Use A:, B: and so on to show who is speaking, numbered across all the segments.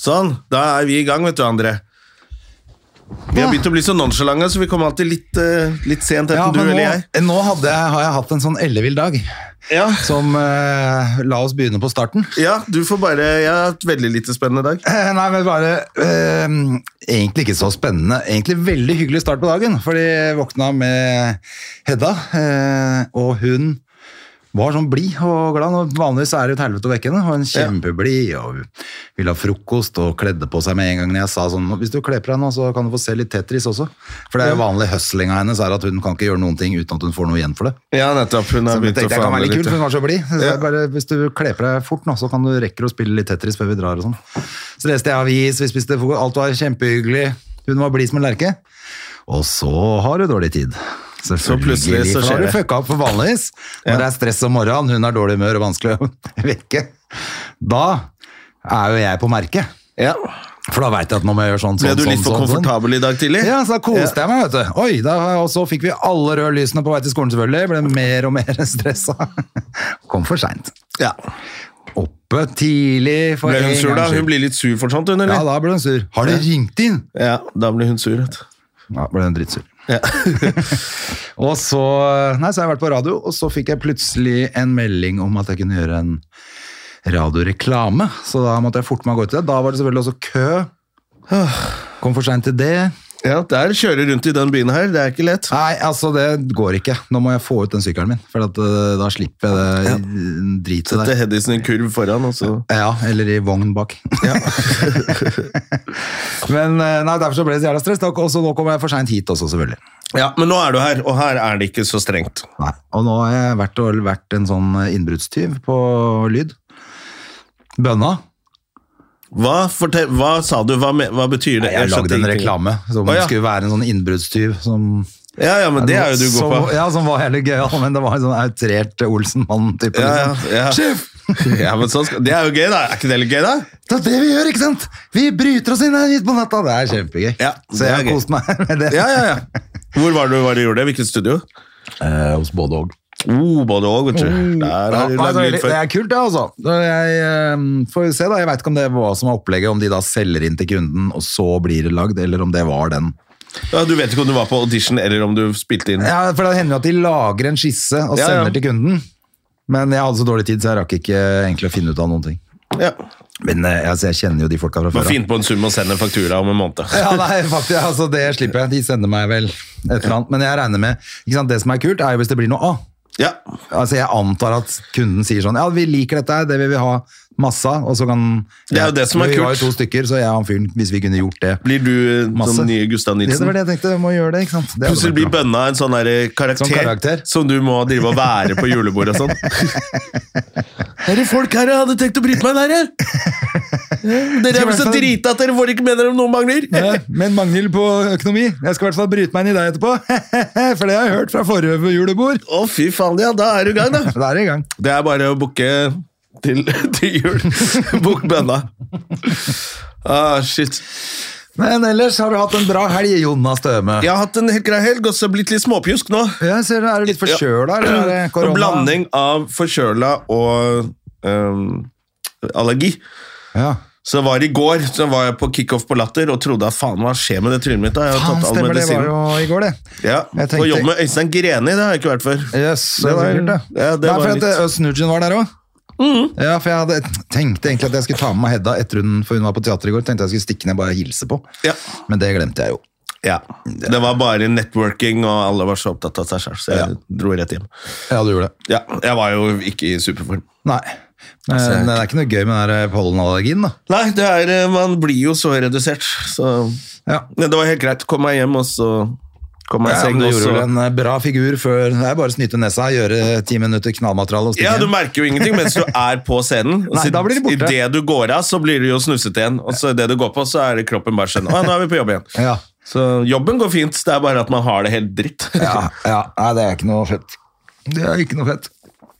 A: Sånn, da er vi i gang, vet du, André. Vi har begynt å bli så nonsjalante, så vi kommer alltid litt, eh, litt sent enten
B: Ja,
A: du
B: men
A: eller
B: nå,
A: jeg.
B: nå hadde jeg, har jeg hatt en sånn ellevill dag
A: Ja.
B: som eh, La oss begynne på starten.
A: ja, du får bare Jeg har hatt veldig lite spennende dag.
B: Eh, Nei, men bare eh, Egentlig ikke så spennende. Egentlig veldig hyggelig start på dagen, fordi jeg våkna med Hedda, eh, og hun var sånn blid og glad. Og vanligvis er det jo et helvete å vekke henne. og Hun kjempeblid og ville ha frokost og kledde på seg med en gang når jeg sa sånn Hvis du kler på deg nå, så kan du få se litt Tetris også. For det er jo vanlig hustlinga hennes er at hun kan ikke gjøre noen ting uten at hun får noe igjen for det.
A: Ja, nettopp. Hun har
B: Så jeg
A: begynt å
B: tenkte jeg kan
A: forhandle
B: være litt
A: litt.
B: kult, for hun var så blid. Så
A: Ja.
B: jeg bare, Hvis du kler på deg fort nå, så kan du rekker å spille litt Tetris før vi drar og sånn. Så leste jeg avis, vi spiste frokost, alt var kjempehyggelig. Hun var blid som en lerke. Og så har du dårlig tid. Selvfølgelig,
A: plutselig
B: for
A: så
B: da
A: skjer
B: har du
A: det.
B: fucka opp for vanligvis. Når det er stress om morgenen, hun har dårlig humør og vanskelig å vekke. Da er jo jeg på merket.
A: Ja.
B: For da veit jeg at nå må jeg gjøre sånn,
A: Ble
B: sånn,
A: du
B: sånn.
A: litt for
B: sånn, sånn.
A: komfortabel i dag tidlig?
B: Ja, så da koste jeg meg, vet du. Oi, da, og så fikk vi alle røde lysene på vei til skolen, selvfølgelig. Jeg Ble mer og mer stressa. Kom for seint.
A: Ja.
B: Oppe tidlig for
A: Ble hun
B: en
A: sur, da?
B: gangs skyld.
A: Hun blir litt sur for sånt, hun,
B: Ja,
A: eller?
B: da ble hun sur. Har du ringt inn?
A: Ja, da blir hun sur. vet du.
B: Ja, ble hun dritsur.
A: Ja.
B: Og så Nei, så har jeg vært på radio, og så fikk jeg plutselig en melding om at jeg kunne gjøre en radioreklame. Så da måtte jeg forte meg å gå ut til det. Da var det selvfølgelig også kø. Kom for seint til det.
A: ja, der kjører rundt i den byen her. Det er ikke lett.
B: Nei, altså det går ikke. Nå må jeg få ut den sykkelen min, for at, eh, da slipper jeg det dritet
A: Sette
B: der.
A: Hedisen i en kurv foran, og så
B: Ja, eller i vogn bak. Men eh, nei, derfor så ble det så jævla stress. da, Og så nå kommer jeg for seint hit også, selvfølgelig.
A: Ja, men nå er du her, og her er det ikke så strengt.
B: Nei. Og nå har jeg vært, og, vært en sånn innbruddstyv på lyd. Bønna.
A: Hva, fortell, hva sa du? Hva, me- hva betyr det?
B: Nei, jeg
A: skjønte
B: lagde en
A: ingenting.
B: reklame som
A: Å, ja.
B: skulle være en sånn innbruddstyv som
A: Ja, ja, men det er jo du god på.
B: som- Ja, som var jævlig gøyal, men det var en sånn outrert Olsenmann-type.
A: Ja,
B: liksom.
A: ja, ja.
B: Sjef!
A: ja, men sånn skal, det er jo gøy, da. Er ikke det litt gøy, da?
B: Det er det vi gjør, ikke sant? Vi bryter oss inn her hit på natta. Det er kjempegøy.
A: Ja,
B: så
A: det
B: jeg
A: er
B: har
A: gøy.
B: kost meg med det.
A: Ja, ja, ja. Hvor var det du, var det du gjorde det? Hvilket studio?
B: Eh, hos både og.
A: Oh, både òg, vet du. Der
B: Ja,
A: har
B: nei,
A: du lagd
B: det,
A: lyd
B: er, det
A: før.
B: er kult, det, altså. Da Jeg, eh, får vi se, da. Jeg veit ikke om det var hva som var opplegget, om de da selger inn til kunden, og så blir det lagd, eller om det var den.
A: Ja, du vet ikke om du var på audition, eller om du spilte inn.
B: Ja, For det hender jo at de lager en skisse og
A: Ja, ja.
B: sender til kunden. Men jeg hadde så dårlig tid, så jeg rakk ikke egentlig å finne ut av noen ting.
A: Ja.
B: Men eh, altså, jeg kjenner jo de folka fra
A: Bare
B: før av.
A: finn på en sum og send en faktura om en måned.
B: Ja, nei, faktisk, altså det slipper jeg. De sender meg vel et eller annet. Men jeg regner med ikke sant, Det som er kult, er jo hvis det blir noe av.
A: Ja.
B: Altså Jeg antar at kunden sier sånn Ja, vi liker dette her, det vil vi ha masse av. Og så kan
A: Det er jo det som er
B: Vi var
A: kult.
B: jo to stykker, så jeg og han fyren, hvis vi kunne gjort det
A: Blir du eh,
B: Masse.
A: som nye Gustav
B: Det
A: Nilsen?
B: var det jeg tenkte, vi må gjøre det, ikke sant? Det hadde
A: Plutselig
B: vært
A: blir
B: bra.
A: bønna en sånn der eh, karakter,
B: Sånn karakter.
A: som du må drive og være på julebord og sånn. Er det folk her jeg hadde tenkt å bryte meg der, jeg? Dere er vel så drita at dere får ikke med dere om noen mangler.
B: Nei, Eh, Men mangel på økonomi. Jeg skal i hvert fall bryte meg inn i deg etterpå. For det har jeg hørt fra forrige julebord.
A: Å, fy faen, ja, da er du i gang, da.
B: Så Da er det i gang.
A: Det er bare å booke til, til jul. Bukk bønna. Ah, shit.
B: Men ellers har du hatt en bra helg, Jonas Støme.
A: Jeg har hatt en helt grei helg, og så blitt litt småpjusk nå.
B: Jeg ser, er du litt forkjøla, eller er det korona?
A: En blanding av forkjøla og ehm, allergi.
B: Ja.
A: Så det var i går så var jeg på kickoff på Latter og trodde at faen, hva skjer med det trynet mitt? da? Jeg har
B: Faen,
A: tatt all
B: stemmer, det var
A: medisinen.
B: jo i går, det.
A: Ja.
B: Jeg tenkte-
A: På jobb med Øystein Greni, det har jeg ikke vært før.
B: Yes, det,
A: var-
B: var kult, det.
A: ja, det
B: Nei,
A: var
B: for at
A: litt-
B: Øst Nugent var der òg. Ja, for jeg hadde, tenkte egentlig at jeg skulle ta med meg Hedda etter hun, for hun var på teater i går. Tenkte jeg skulle stikke ned og bare hilse på.
A: Ja.
B: Men det glemte jeg jo.
A: Ja. Det var bare networking, og alle var så opptatt av seg selv, så jeg dro rett hjem.
B: Ja, du gjorde det.
A: Ja, jeg var jo ikke i superform.
B: Nei. Men eh, det er ikke noe gøy med den der pollenallergien, da.
A: Nei, det er, eh, man blir jo så redusert, så
B: Ja.
A: Men Det var helt greit. Kom meg hjem, og så Kom meg i
B: Ja,
A: seng
B: men nå
A: også.
B: gjorde du en eh, bra figur før Det er bare å snyte nesa, gjøre ti minutter knallmateriale og stikke
A: Ja, du
B: hjem.
A: merker jo ingenting mens du er på scenen. Og
B: Nei,
A: så
B: da blir de borte.
A: I det du går av, så blir du jo snufset igjen. Og så i det du går på, så er det kroppen bare sånn Å, nå er vi på jobb igjen.
B: Ja.
A: Så jobben går fint, det er bare at man har det helt dritt.
B: Ja, ja. Nei, det er ikke noe fett. Det er ikke noe fett.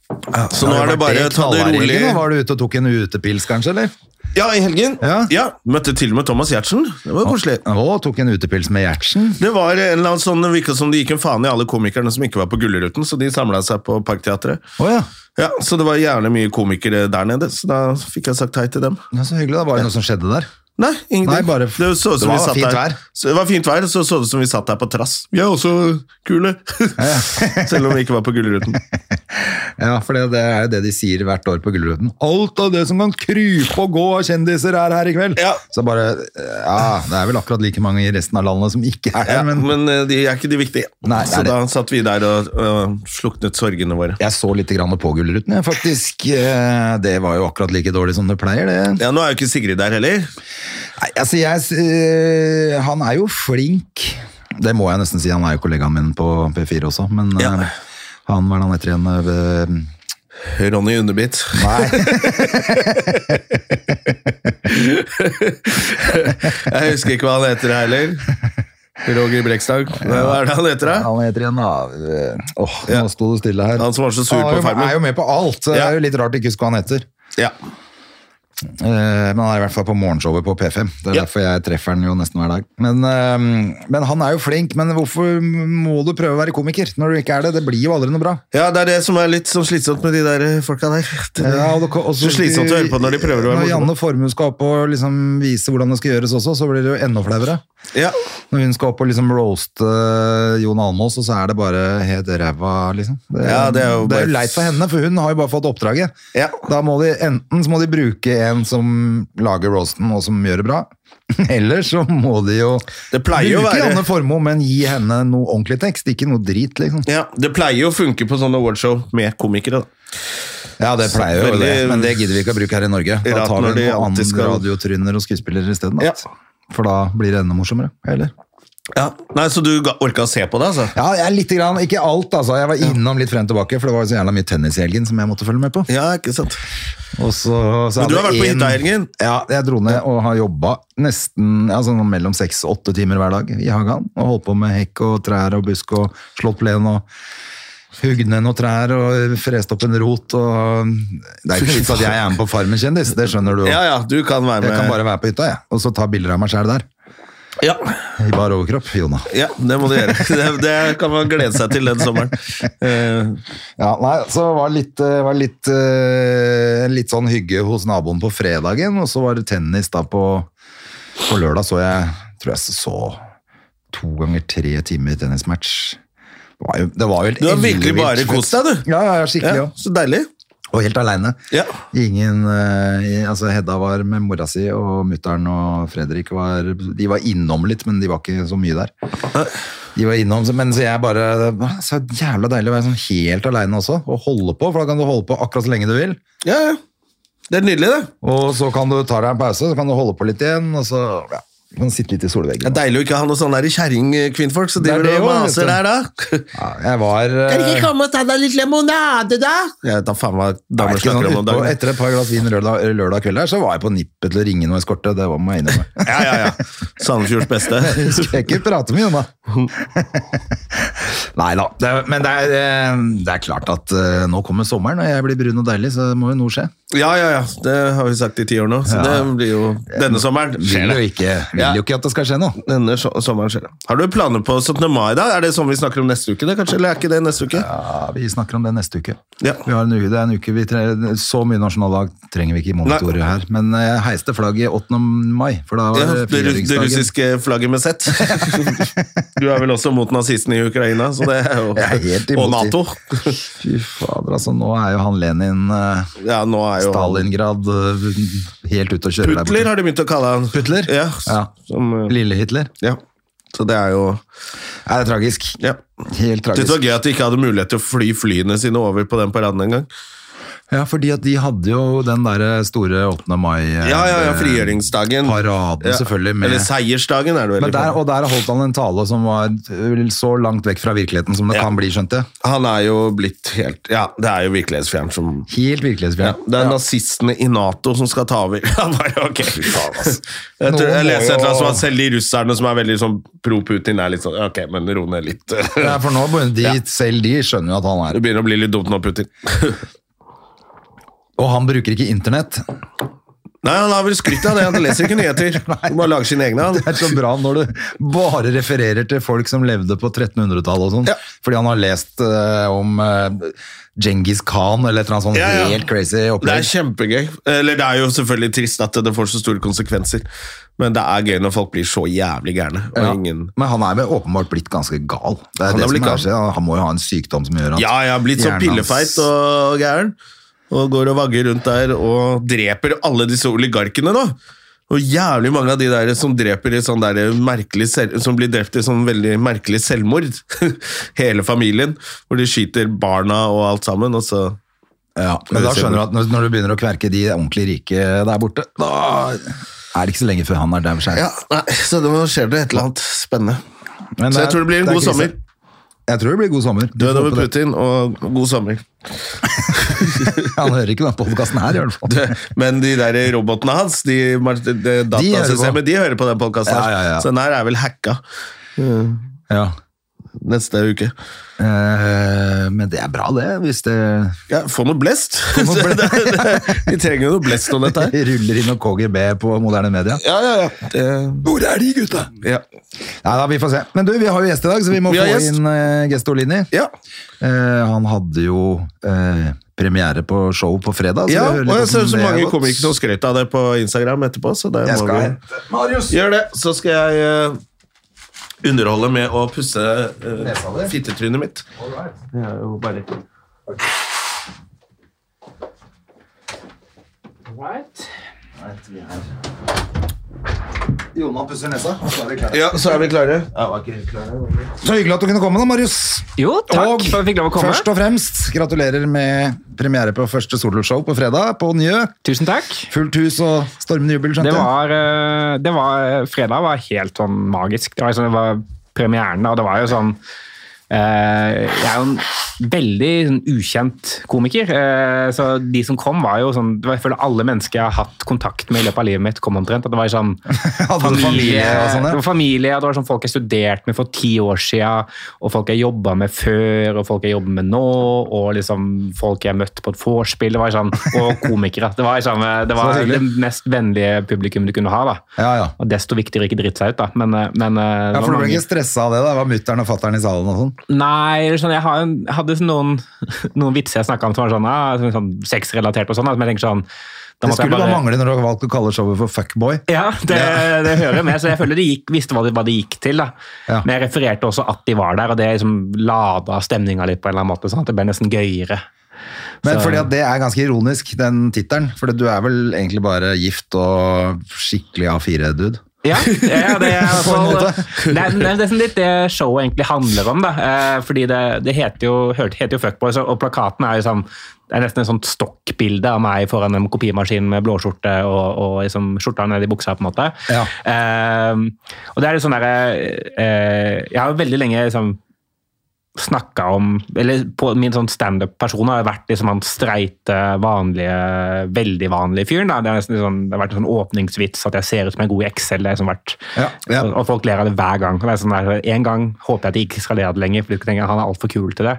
A: Så nå er det bare å ta det rolig.
B: Nå var du ute og tok en utepils, kanskje? eller?
A: Ja, i helgen. Ja.
B: Ja.
A: Møtte til og med Thomas Giertsen. Det var koselig.
B: Og tok en utepils med Gjertsen.
A: Det var en eller annen sånn, det virket som det gikk en faen i alle komikerne som ikke var på Gullruten, så de samla seg på Parkteatret.
B: Å ja.
A: Ja, så det var gjerne mye komikere der nede, så da fikk jeg sagt hei til dem.
B: ja. Så hyggelig. da Var det noe som skjedde der?
A: Nei, ingenting.
B: Nei, bare-
A: det, så ut som
B: det var
A: vi satt
B: fint
A: der.
B: vær.
A: Så, det var fint vær, så så det ut som vi satt der på trass. Vi er også kule! Selv om vi ikke var på Gullruten.
B: Ja, for det, det er jo det de sier hvert år på Gullruten. Alt av det som kan krype og gå av kjendiser, er her i kveld!
A: Ja.
B: Så bare Ja, det er vel akkurat like mange i resten av landet som ikke er
A: Ja,
B: der, men
A: men eh, de er ikke de viktige.
B: Nei, det
A: så
B: er det.
A: da satt vi der og øh, sluknet sorgene våre.
B: jeg så litt grann på Gullruten, jeg, faktisk. Eh, Det var jo akkurat like dårlig som det pleier, det.
A: Ja, Nå er jo ikke Sigrid der heller.
B: Nei, altså, jeg s- eh, Han er jo flink. Det må jeg nesten si. Han er jo kollegaen min på P4 også, men
A: Ja.
B: eh, han var han etter igjen eh,
A: Ronny Underbitt. Jeg husker ikke hva han heter heller. Roger Brekstad. Hva er det han heter? da?
B: Han heter igjen, da. eh, Åh,
A: Ja.
B: nå sto det stille her.
A: Han som var så sur
B: Han er
A: på
B: jo-
A: Farmen.
B: er jo med på alt. så Det
A: Ja.
B: er jo litt rart å ikke huske hva han heter.
A: Ja.
B: Eh, Men han er i hvert fall på morgenshowet på P5. Det er
A: Ja.
B: derfor jeg treffer han jo nesten hver dag. Men, eh, men han er jo flink. Men hvorfor må du prøve å være komiker når du ikke er det? Det blir jo aldri noe bra.
A: ja, det er det som er litt sånn slitsomt med de der eh, folka der. Det-
B: Ja, og det- og
A: så slitsomt å høre på når de prøver å være
B: Når
A: morsomme.
B: Janne Formue skal opp og liksom vise hvordan det skal gjøres også, så blir det jo enda flauere.
A: Ja.
B: Når hun skal opp og liksom roaste Jon Almaas, og så er det bare helt ræva, liksom. Det,
A: Ja, det er jo bare-
B: leit for henne, for hun har jo bare fått oppdraget.
A: Ja.
B: Da må de, enten så må de bruke en som lager roasten, og som gjør det bra, eller så må de jo
A: Det pleier jo å
B: bruke
A: være-
B: Janne Formoe, men gi henne noe ordentlig tekst, ikke noe drit, liksom.
A: ja. Det pleier jo å funke på sånne awardshow med komikere. da.
B: Ja, det pleier jo
A: Veldig-
B: det, men det gidder vi ikke å bruke her i Norge. Da
A: Rart
B: tar
A: når
B: vi
A: de
B: noen
A: alltid
B: andre
A: skal-
B: radiotryner og skuespillere isteden.
A: Ja.
B: Ja. For da blir det enda morsommere, eller?
A: Ja. Nei, Så du ga- orka å se på det, altså?
B: Ja, jeg er litt grann, ikke alt altså. Jeg var innom litt frem og tilbake, for det var jo så jævla mye tennis i helgen som jeg måtte følge med på.
A: Ja, ikke sant.
B: Og så, så
A: Men du
B: hadde
A: har vært på
B: en-
A: hytta i helgen?
B: Ja, jeg dro ned og har jobbet nesten ja, sånn mellom 6 og 8 timer hver dag i hagen, og holdt på med hekk og trær og busk og slått plen og hugget ned noen trær og frest opp en rot. Og... Det er ikke vits at jeg er med på farmen kjendis, det skjønner du jo.
A: Ja, ja, du kan være med.
B: Jeg kan bare være på hytta, jeg, og så ta bilder av meg selv der.
A: ja.
B: I bar overkropp, Jona.
A: ja, det må du gjøre. Det, det kan man glede seg til den sommeren. Eh,
B: Ja, nei, så var det litt, eh, var det litt, eh, litt sånn hygge hos naboen på fredagen, og så var det tennis da på, på lørdag, så jeg tror jeg så to ganger tre timer tennismatch. Det var jo, det var jo helt
A: Du har virkelig
B: ellevilt
A: bare
B: fett.
A: kost deg, du.
B: Ja, ja, ja, skikkelig,
A: ja,
B: ja.
A: så deilig.
B: Og helt alene.
A: Ja.
B: Ingen, eh, i- altså Hedda var med mora si, og mutteren og Fredrik var, de var innom litt, men de var ikke så mye der. De var innom, så- men så jeg bare, det var så jævla deilig å være sånn helt alene også, og holde på, for da kan du holde på akkurat så lenge du vil.
A: Ja, ja. Det er nydelig, det.
B: Og så kan du ta deg en pause, så kan du holde på litt igjen, og så ja, du kan sitte litt i
A: Det
B: solveggen.
A: er deilig å ikke ha noe sånn der kjerring-kvinnfolk som
B: Det er
A: driver
B: det
A: og
B: også,
A: maser
B: vet
A: der, da.
B: Ja, jeg var...
A: Kan
B: eh,
A: ikke komme og ta deg litt limonade, da? Jeg vet da faen hva
B: jeg
A: damer
B: vet ikke,
A: snakker om
B: sånn,
A: om
B: utpå,
A: dagen.
B: etter et par glass vin lørdag, lørdag kveld her, så var jeg på nippet til å ringe noe eskorte, det var meg inne med.
A: Ja, ja, ja. Sandefjords beste.
B: Skal jeg ikke prate mye om det? Nei da. Det, er- men det er, eh, det er klart at eh, nå kommer sommeren, og jeg blir brun og deilig, så må jo noe skje.
A: Ja, ja, ja. Det har vi sagt i ti år nå, så det blir jo denne sommeren.
B: Vil jo ikke,
A: Ja.
B: vil jo ikke at det skal skje noe.
A: Denne so- sommeren skjer det. Har du planer på 17. mai, da? Er det sånn vi snakker om neste uke, det, kanskje? Eller er ikke det neste uke?
B: Ja, vi snakker om det neste uke.
A: Ja.
B: Vi har en uke, det er en uke vi tre- Så mye nasjonaldag trenger vi ikke i monitorer her. Men eh, jeg heiste flagget 8. mai, for da var
A: Ja,
B: det
A: det, ru-
B: eh,
A: det
B: frigjøringsdagen.
A: russiske flagget med Z. Du er vel også mot nazistene i Ukraina, så det er
B: Jeg er helt
A: jo
B: imot
A: Og
B: de.
A: Nato.
B: Fy fader, altså. Nå er jo han Lenin eh,
A: Ja, nå er jo
B: Stalingrad eh, helt ute og kjører der borte.
A: Putler har de begynt å kalle han.
B: Putler?
A: Ja.
B: Ja.
A: Som, eh,
B: Lille Hitler.
A: ja. Så det er jo
B: Nei, det er tragisk.
A: ja.
B: Helt
A: Det
B: tragisk.
A: var gøy at de ikke hadde mulighet til å fly flyene sine over på den paraden engang.
B: Ja, fordi at de hadde jo den der store 8. mai eh,
A: Ja, ja, ja, frigjøringsdagen.
B: Paraden, selvfølgelig, med-
A: Eller liksom. seiersdagen er det vel.
B: Men der, og der holdt han en tale som var eh, så langt vekk fra virkeligheten som det
A: Ja.
B: kan bli, skjønte jeg.
A: Han er jo blitt helt Ja, det er jo virkelighetsfjern som
B: Helt
A: ja,
B: virkelighetsfjern.
A: Det er nazistene i Nato som skal ta over. Ja, bare, ok. Jeg,
B: Noen
A: tror, jeg
B: må
A: leser et eller annet
B: jo-
A: som at selv de russerne som er veldig sånn pro-Putin, er litt sånn Ok, men ro ned litt.
B: Ja, for nå begynner de,
A: Ja.
B: selv de skjønner jo at han er
A: Det begynner å bli litt dumt nå, Putin.
B: Og han bruker ikke internett.
A: Nei, han har vel skrytt av det. Han leser ikke nyheter. Han bare lager sine egne.
B: Det er
A: Han.
B: så bra når du bare refererer til folk som levde på 1300-tallet og sånn.
A: Ja.
B: Fordi han har lest eh, om uh, Genghis Khan eller et eller annet sånn
A: Ja, ja.
B: helt crazy
A: Det er
B: opplegg.
A: kjempegøy. Eller det er jo selvfølgelig trist at det får så store konsekvenser, men det er gøy når folk blir så jævlig gærne. Og
B: Ja.
A: ingen
B: Men han er vel åpenbart blitt ganske gal. Det er han,
A: Han er
B: det
A: blitt
B: som er,
A: gal.
B: så- han må jo ha en sykdom som gjør at
A: Ja, jeg har blitt så
B: hjernen hans-
A: pillefeit og gæren. Og går og vagger rundt der og dreper alle disse oligarkene, da. Og jævlig mange av de der som dreper i sånn der merkelig selv, som blir drept i sånn veldig merkelig selvmord. Hele familien. Hvor de skyter barna og alt sammen, og så
B: Ja, men da skjønner du at når, når du begynner å kverke de ordentlig rike der borte, da er det ikke så lenge før han er der for seg.
A: Ja, nei, så det må- skjer det et eller annet spennende.
B: Men er-
A: Så jeg tror det blir en
B: er
A: god
B: krise.
A: sommer.
B: Jeg tror det blir god sommer. Vi
A: Død
B: får
A: over
B: håpe det.
A: Putin og god sommer.
B: Han hører ikke den podkasten her, i hvert fall.
A: Men de der robotene hans, de, de, de datasystemet, de hører på den podkasten.
B: Ja, ja, ja.
A: Så den her er vel hacka
B: Ja.
A: neste uke.
B: Eh, men det er bra, det, hvis det
A: Ja, få noe blest!
B: noe blest.
A: Det- det- det- Vi trenger jo noe blest om dette her.
B: ruller inn noe KGB på moderne media.
A: Ja, ja, ja. Det,
B: Hvor er de gutta?
A: ja.
B: Nei da, vi får se. Men du, vi har jo gjest i dag, så vi må
A: Vi har
B: få
A: gjest.
B: inn uh, Gestolini.
A: ja.
B: Eh, han hadde jo eh, premiere på show på fredag. så
A: ja.
B: vi hører litt
A: Og jeg ser
B: hvordan
A: så
B: det har
A: mange
B: gått.
A: kommer ikke til å skryte av det på Instagram etterpå, så det
B: Jeg
A: må
B: skal
A: vi
B: hente Marius.
A: Gjør det, så skal jeg eh, underholde med å pusse eh, fittetrynet mitt. Det er jo bare
B: Jonan pusser nesa. Så, er vi klare.
A: Ja, så er vi klare.
B: så hyggelig at du kunne komme, da, Marius.
C: Jo, takk
B: Og
C: for at jeg fikk lov å komme.
B: Først og fremst, gratulerer med premiere på første soloshow på fredag på Njø.
C: Tusen takk.
B: Fullt hus og stormende jubel, skjønte
C: Det
B: jeg.
C: var, eh, det var Fredag var helt sånn magisk. Det var, liksom, det var premieren, da, og det var jo sånn eh, Jeg er jo en veldig sånn, ukjent komiker, eh, så de som kom, var jo sånn det var, Jeg føler alle mennesker jeg har hatt kontakt med i løpet av livet mitt, kom omtrent. At det var sånn
B: Hadde du familie og sånn, ja?
C: det var familie, og det var sånn folk jeg studerte med for ti år siden, og folk jeg jobba med før, og folk jeg jobber med nå, og liksom folk jeg møtte på et vorspiel, det var sånn, og komikere. Det var, liksom, det,
B: Så
C: var
B: hyggelig.
C: det mest vennlige publikum du kunne ha. da.
B: Ja, ja.
C: Og desto viktigere ikke drite seg ut, da. Men, eh, men
B: Ja, for du ble ikke stressa av det? da? Det var mutter'n og fatter'n i salen og sånn?
C: Nei, eller sånn, jeg har en- hadde sånn noen, noen vitser jeg snakka om som var sånn, ah, sånn, sånn sexrelatert og sånn, da, som jeg tenker sånn
B: Det
C: da måtte jeg
B: skulle bare mangle når du har valgt å kalle showet for Fuckboy.
C: Ja, det, det hører jeg med. Så jeg føler de gikk, visste hva de, hva de gikk til. da.
B: Ja.
C: Men jeg refererte også at de var der, og det liksom lada stemninga litt. på en eller annen måte, sånn at Det ble nesten gøyere.
B: Men
C: Så-
B: fordi at det er ganske ironisk, den tittelen. For du er vel egentlig bare gift og skikkelig A4-dude.
C: Ja, ja det er i hvert
B: På en
C: fall
B: måte.
C: det er, det er nesten litt det showet egentlig handler om. da, Eh, fordi det, det heter jo, hørte- heter jo Fuckboys, og- og plakaten er jo sånn det er nesten et sånt stokkbilde av meg foran en kopimaskin med blåskjorte og, og liksom skjorta ned i buksa. på en måte.
B: Ja.
C: Eh, og det er litt sånn derre eh, Jeg har jo veldig lenge liksom, snakka om Eller på min sånn standup-person har jeg vært liksom han streite, vanlige, veldig vanlige fyren. da. Det, er nesten sånn, det har vært en sånn åpningsvits at jeg ser ut som en god i Excel. Det har liksom vært,
B: Ja, ja.
C: Og, og folk ler av det hver gang. Og Det er sånn der, en gang håper jeg at de ikke skal le av det lenger, for de skal tenke han er altfor kul til det.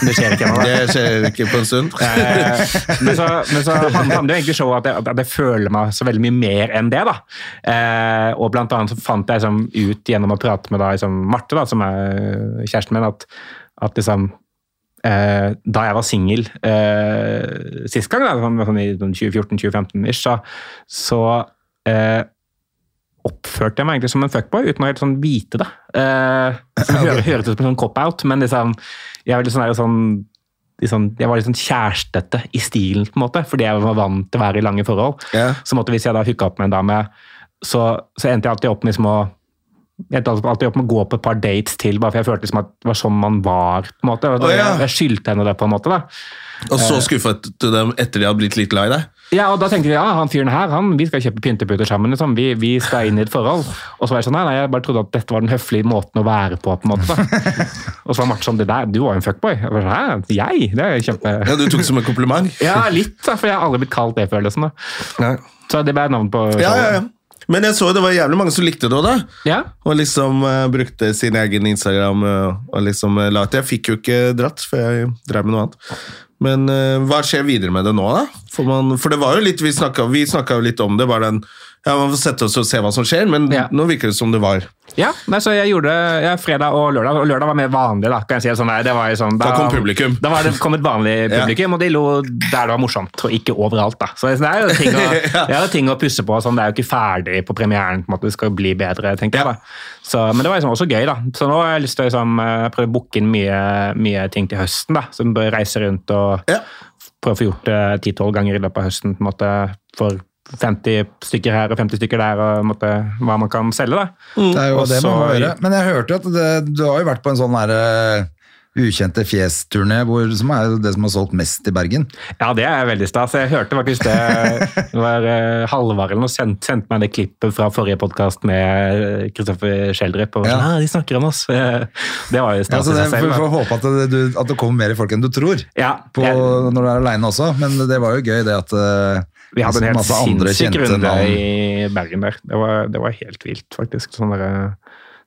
C: Men det skjer ikke ennå. da.
A: Det skjer ikke på en stund.
C: Eh, men så, men så hand- handler jo egentlig showet at jeg, at jeg føler meg så veldig mye mer enn det. da. Eh, og blant annet så fant jeg liksom, ut gjennom å prate med da, liksom, Marte, da, som er kjæresten min, at, at liksom eh, da jeg var singel eh, sist gang, da, sånn, sånn i 2014-2015-ish, så, så eh, oppførte jeg meg egentlig som en fuckboy, uten å helt sånn vite det. Eh, som hø- høres ut som en sånn cop-out, men liksom, jeg, var litt sånn, der sånn, litt sånn, jeg var litt sånn kjærestete i stilen, på en måte, fordi jeg var vant til å være i lange forhold.
A: Ja.
C: Så måtte, hvis jeg da hooka opp med en dame, så, så endte jeg alltid opp med liksom å Jeg endte alltid opp med å gå på et par dates til, bare for jeg følte liksom at det var sånn man var. på en måte. Og
A: Å,
C: det,
A: ja.
C: Jeg skyldte henne det, på en måte. da.
A: Og så skuffet du dem etter de hadde blitt litt glad i deg?
C: Ja, og da tenkte vi ja, han fyren her, han, vi skal kjøpe pynteputer sammen. Liksom. Vi, vi skal inn i et forhold. Og så var jeg sånn, nei, nei, jeg bare trodde at dette var den høflige måten å være på. på en måte. da. Og så var Marte sånn, det der, du var jo en fuckboy. Jeg var sånn, Hæ, jeg? Det er jo kjempe...
A: Ja, Du tok det som en kompliment?
C: Ja, litt, da, for jeg har aldri blitt kalt det, følelsen. da. Så det ble navn på
A: Ja, ja,
C: showet.
A: ja. Men jeg så jo det var jævlig mange som likte det òg, da.
C: Ja,
A: Og liksom eh, brukte sin egen Instagram eh, og liksom eh, la ut. Jeg fikk jo ikke dratt, for jeg drev med noe annet. Men eh, hva skjer videre med det nå, da? For, man, for det var jo litt, vi snakka vi snakka jo litt om det. bare den, ja, Man får sette oss og se hva som skjer, men
C: Ja.
A: nå virker det som det var.
C: ja. Nei, så jeg gjorde ja, fredag og lørdag, og lørdag var mer vanlig. da, kan jeg si det sånn, nei, det var jo sånn,
A: Da kom publikum.
C: Da var det kom et vanlig
A: Ja.
C: publikum, og de lo der det var morsomt, og ikke overalt. da. Så det er jo ting å,
A: Ja.
C: det er jo ting å pusse på. sånn, Det er jo ikke ferdig på premieren. på en måte, Det skal bli bedre, tenker
A: Ja.
C: jeg. da. Så, men det var liksom også gøy. da. Så nå har jeg lyst til å liksom, eh, prøve å booke inn mye, mye ting til høsten. da, Som bør reise rundt og
A: Ja.
C: prøve å få gjort det 10-12 ganger i løpet av høsten. på en måte, for 50 stykker her og 50 stykker der, og på en måte, hva man kan selge. da.
B: Mm. Det er jo
C: Og
B: det man må
C: så-
B: gjøre. Men jeg hørte jo at det, du har jo vært på en sånn der, eh, ukjente fjes-turné, hvor- som er jo det som har solgt mest i Bergen.
C: Ja, det er veldig stas. Jeg hørte faktisk det, det var eh, Halvard eller noe sendt, sendte meg det klippet fra forrige podkast med Kristoffer Schjelderup. Og var sånn,
B: Ja.
C: «Ah, de snakker om oss. Eh, Det var jo
B: Ja,
C: stas
B: så Altså,
C: i
B: det, for,
C: seg selv.
B: for
C: da.
B: å håpe at det, du, at det kommer mer folk enn du tror,
C: Ja,
B: på,
C: jeg,
B: når du er aleine også. Men det var jo gøy det at eh,
C: vi hadde en helt
B: masse andre
C: sinnssyk
B: kjente
C: runde
B: navn.
C: i Bergen der. Det var, det var helt vilt, faktisk. Sånn der, eh,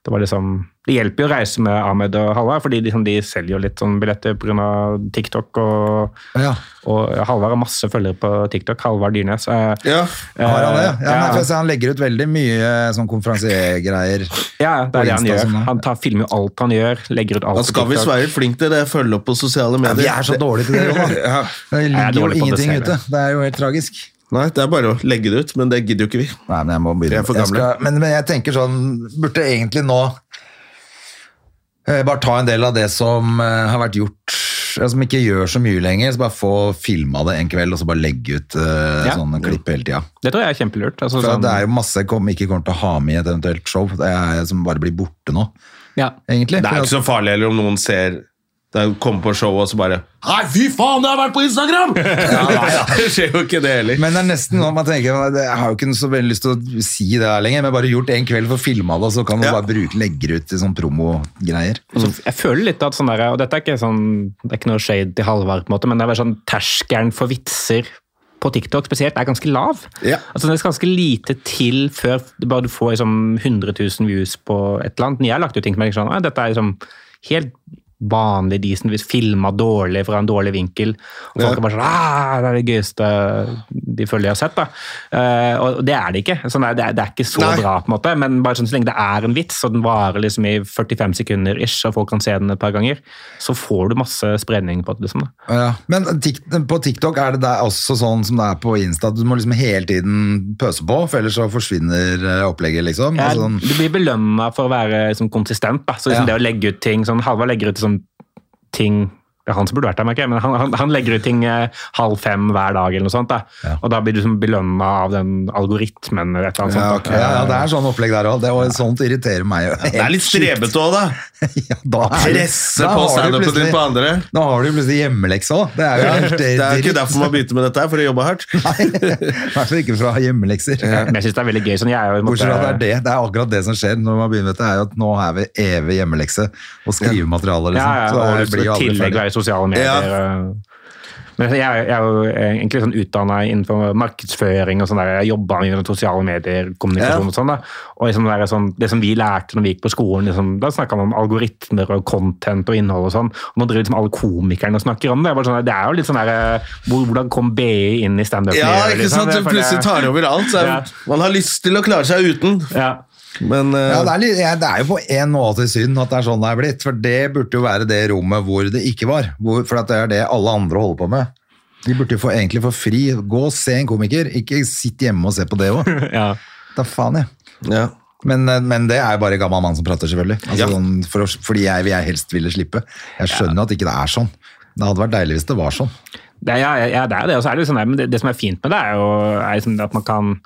C: det, var liksom, det hjelper jo å reise med Ahmed og Halvard, fordi de, sånn, de selger jo litt sånn billetter pga. TikTok. Og,
B: Ja.
C: og Halvard har masse følgere på TikTok. Halvard Dyrnes. eh,
A: Ja.
B: Har han det? Ja,
C: eh,
B: nei, for jeg ser Han legger ut veldig mye eh, sånn konferansiergreier.
C: Ja, det
B: På
C: er det han
B: Insta
C: gjør.
B: som er.
C: Han tar, filmer jo alt han gjør. legger ut alt
A: Han skal
C: på TikTok.
A: visst være flink til det, følge opp på sosiale
B: Ja,
A: medier.
B: vi er så dårlige til det jo, da.
A: Ja.
B: Det
C: Jeg er
B: ligger jo
C: dårlig på det
B: ingenting
C: selv,
B: ute. Det er jo helt tragisk.
A: Nei, det er bare å legge det ut, men det gidder jo ikke vi.
B: Nei, men jeg må begynne.
A: Vi er for
B: Jeg
A: gamle.
B: skal, men, men jeg tenker sånn Burde egentlig nå eh, bare ta en del av det som eh, har vært gjort ja, som ikke gjør så mye lenger, så bare få filma det en kveld, og så bare legge ut eh,
C: Ja.
B: sånne klipp hele tida.
C: Det tror jeg er kjempelurt. Altså,
B: For
C: sånn-
B: det er jo masse kom, ikke kommer til å ha med i et eventuelt show, det er, som bare blir borte nå,
C: ja.
B: egentlig.
A: Det er jo ikke så farlig heller om noen ser det kommer på showet og så bare Hei, fy faen, det har vært på Instagram! det skjer jo ikke det heller.
B: Men det er nesten sånn at man tenker "Nei, det- Jeg har jo ikke så veldig lyst til å si det her lenger, men bare gjort en kveld for å filme det, og så kan man
A: Ja.
B: bare bruke, legge det ut i sånn promogreier.
C: Og så- jeg føler litt at sånn der, og dette er ikke, sånn, det er ikke noe shade til Halvard, på en måte, men det er bare sånn terskelen for vitser på TikTok spesielt er ganske lav.
A: Ja.
C: Altså, det skal ganske lite til før du bare får liksom, 100 000 views på et eller annet. Men Jeg har lagt ut ting som er liksom, «Å, dette er liksom helt vanlig decent, hvis filma dårlig fra en dårlig vinkel. Og folk er bare sånn «Ah, Det er det gøyeste de føler de har sett. da. Eh, og det er det ikke. Sånn, er- det, er, det er ikke så
A: Nei.
C: bra, på en måte, men bare sånn, så lenge det er en vits, og den varer liksom i 45 sekunder ish, og folk kan se den et par ganger, så får du masse spredning på det. liksom. Da.
B: Ja. Men Tik- på TikTok er det der også sånn som det er på Insta, at du må liksom hele tiden pøse på, for ellers så forsvinner eh, opplegget, liksom.
C: Ja,
B: Altså, sånn,
C: Du blir belønna for å være liksom, konsistent. Da. Så liksom,
B: Ja.
C: det å legge ut ting sånn, Halvard legger ut liksom, ting det er han som burde vært der, merker jeg, men han, han, han legger ut ting eh, halv fem hver dag. eller noe sånt da.
B: Ja.
C: Og da blir du liksom, belønna av den algoritmen. eller
A: sånn-
C: et eller annet
B: ja,
C: sånt. da.
B: ja, ja, det er sånn opplegg der òg, og sånt irriterer meg jo.
A: Det er litt strebete òg, da.
B: Ja, da er det-
A: Presse
B: da
A: på
B: har du
A: standupen din
B: plutselig-
A: på andre.
B: Da har du jo plutselig hjemmelekse òg. Det er jo helt
A: Det er jo ikke derfor man begynte med dette, her, for å jobbe hardt.
B: I hvert fall ikke for å ha hjemmelekser.
C: Men jeg syns det er veldig gøy. sånn jeg er jo... i en
B: Bortsett fra at
C: måte-
B: det er det. Det er akkurat det som skjer når man begynner med dette, er jo at nå er vi evig hjemmelekse og skrivemateriale,
C: Ja,
B: liksom.
C: ja,
B: Så
C: og
B: det blir jo aldri
C: tillegg
B: ferdig.
C: være i sosiale medier. og- Men jeg, er- jeg er jo egentlig sånn utdanna innenfor markedsføring og sånn der. Jeg jobba med sosiale medier,
A: Ja.
C: kommunikasjon og sånn. da. Og liksom det, er sånn, det som vi lærte når vi gikk på skolen, liksom, da snakka man om algoritmer og content og innhold og sånn. Og nå driver liksom alle komikerne og snakker om det. Jeg er Bare sånn, det er jo litt sånn der, hvor, Hvordan kom BI inn i liksom? standup?
A: Ja,
B: sånn,
A: ikke sant? Du plutselig tar over alt. Så
C: Ja.
A: man har lyst til å klare seg uten,
C: ja.
A: men eh,
B: Ja, det, er litt, ja, det er jo på en måte synd at det er sånn det er blitt, for det burde jo være det rommet hvor det ikke var. Hvor, for at det er det alle andre holder på med. De burde jo få, egentlig få fri. Gå og se en komiker, ikke sitt hjemme og se på det òg.
C: ja.
B: Da faen, jeg.
A: ja.
B: Men, eh, men det er jo bare gammel mann som prater, selvfølgelig. Altså,
A: Ja.
B: sånn, for, å- fordi jeg, jeg helst ville slippe. Jeg skjønner at ikke det er sånn. Det hadde vært deilig hvis det var sånn.
C: Det, er- ja, ja, det er det. Og så er det, jo sånn der, men det, det som er fint med det, er jo er liksom det at man kan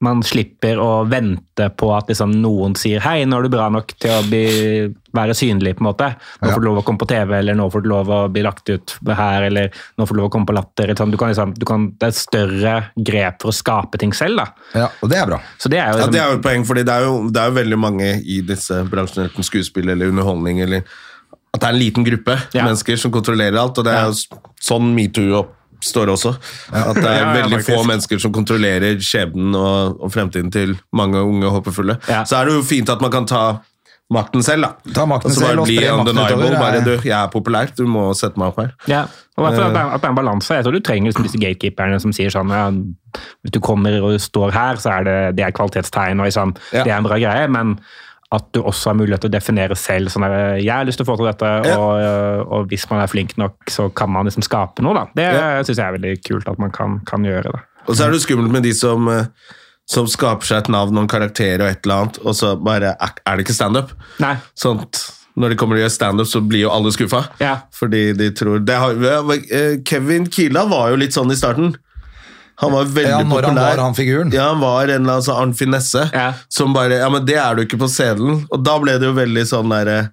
C: Man slipper å vente på at liksom noen sier 'hei, nå er du bra nok til å bli, være synlig'. på en måte. 'Nå får du lov å komme på TV', eller 'nå får du lov å bli lagt ut her', eller 'nå får du lov å komme på Latter'. eller Sånn. Du kan liksom, du kan, det er et større grep for å skape ting selv. da.
B: Ja, og det er bra.
C: Så det er jo
A: Ja,
C: liksom,
A: Det er jo et poeng, fordi det er jo, det er jo veldig mange i disse bransjene, enten skuespill eller underholdning, eller at det er en liten gruppe
C: Ja.
A: mennesker som kontrollerer alt, og det er jo s- sånn metoo oppstår også. At det er
C: Ja, ja,
A: veldig få
C: faktisk.
A: mennesker som kontrollerer skjebnen og, og fremtiden til mange unge håpefulle.
C: Ja.
A: Så er det jo fint at man kan ta makten selv, da.
B: Ta makten
A: Altså, bare
B: selv og
A: bli
B: spre makten
A: undeniable,
B: utover, er-
A: Bare du, jeg er populær, du må sette meg opp her.
C: Ja, og i hvert fall at det er- at det er en balanse. Jeg tror du trenger liksom disse gatekeeperne som sier sånn ja, Hvis du kommer og står her, så er det, det er kvalitetstegn, og liksom,
A: Ja.
C: det er en bra greie. men at du også har mulighet til å definere selv. sånn der, jeg har lyst til å få til dette,
A: Ja.
C: og, øh, og hvis man er flink nok, så kan man liksom skape noe. da. Det
A: Ja.
C: synes syns jeg er veldig kult at man kan, kan gjøre. da.
A: Og så er det jo skummelt med de som, eh, som skaper seg et navn og en karakter og et eller annet, og så bare er er det ikke standup.
C: Nei.
A: Sånt. Når de kommer og gjør standup, så blir jo alle skuffa.
C: Ja.
A: Fordi de tror det har, eh, Kevin Kila var jo litt sånn i starten. Han var veldig
B: Ja, når
A: populær.
B: han var han figuren.
A: Ja, han var en eller annen sånn Arnfinn Nesse
C: Ja.
A: som bare Ja, men det er du ikke på scenen. Og da ble det jo veldig sånn derre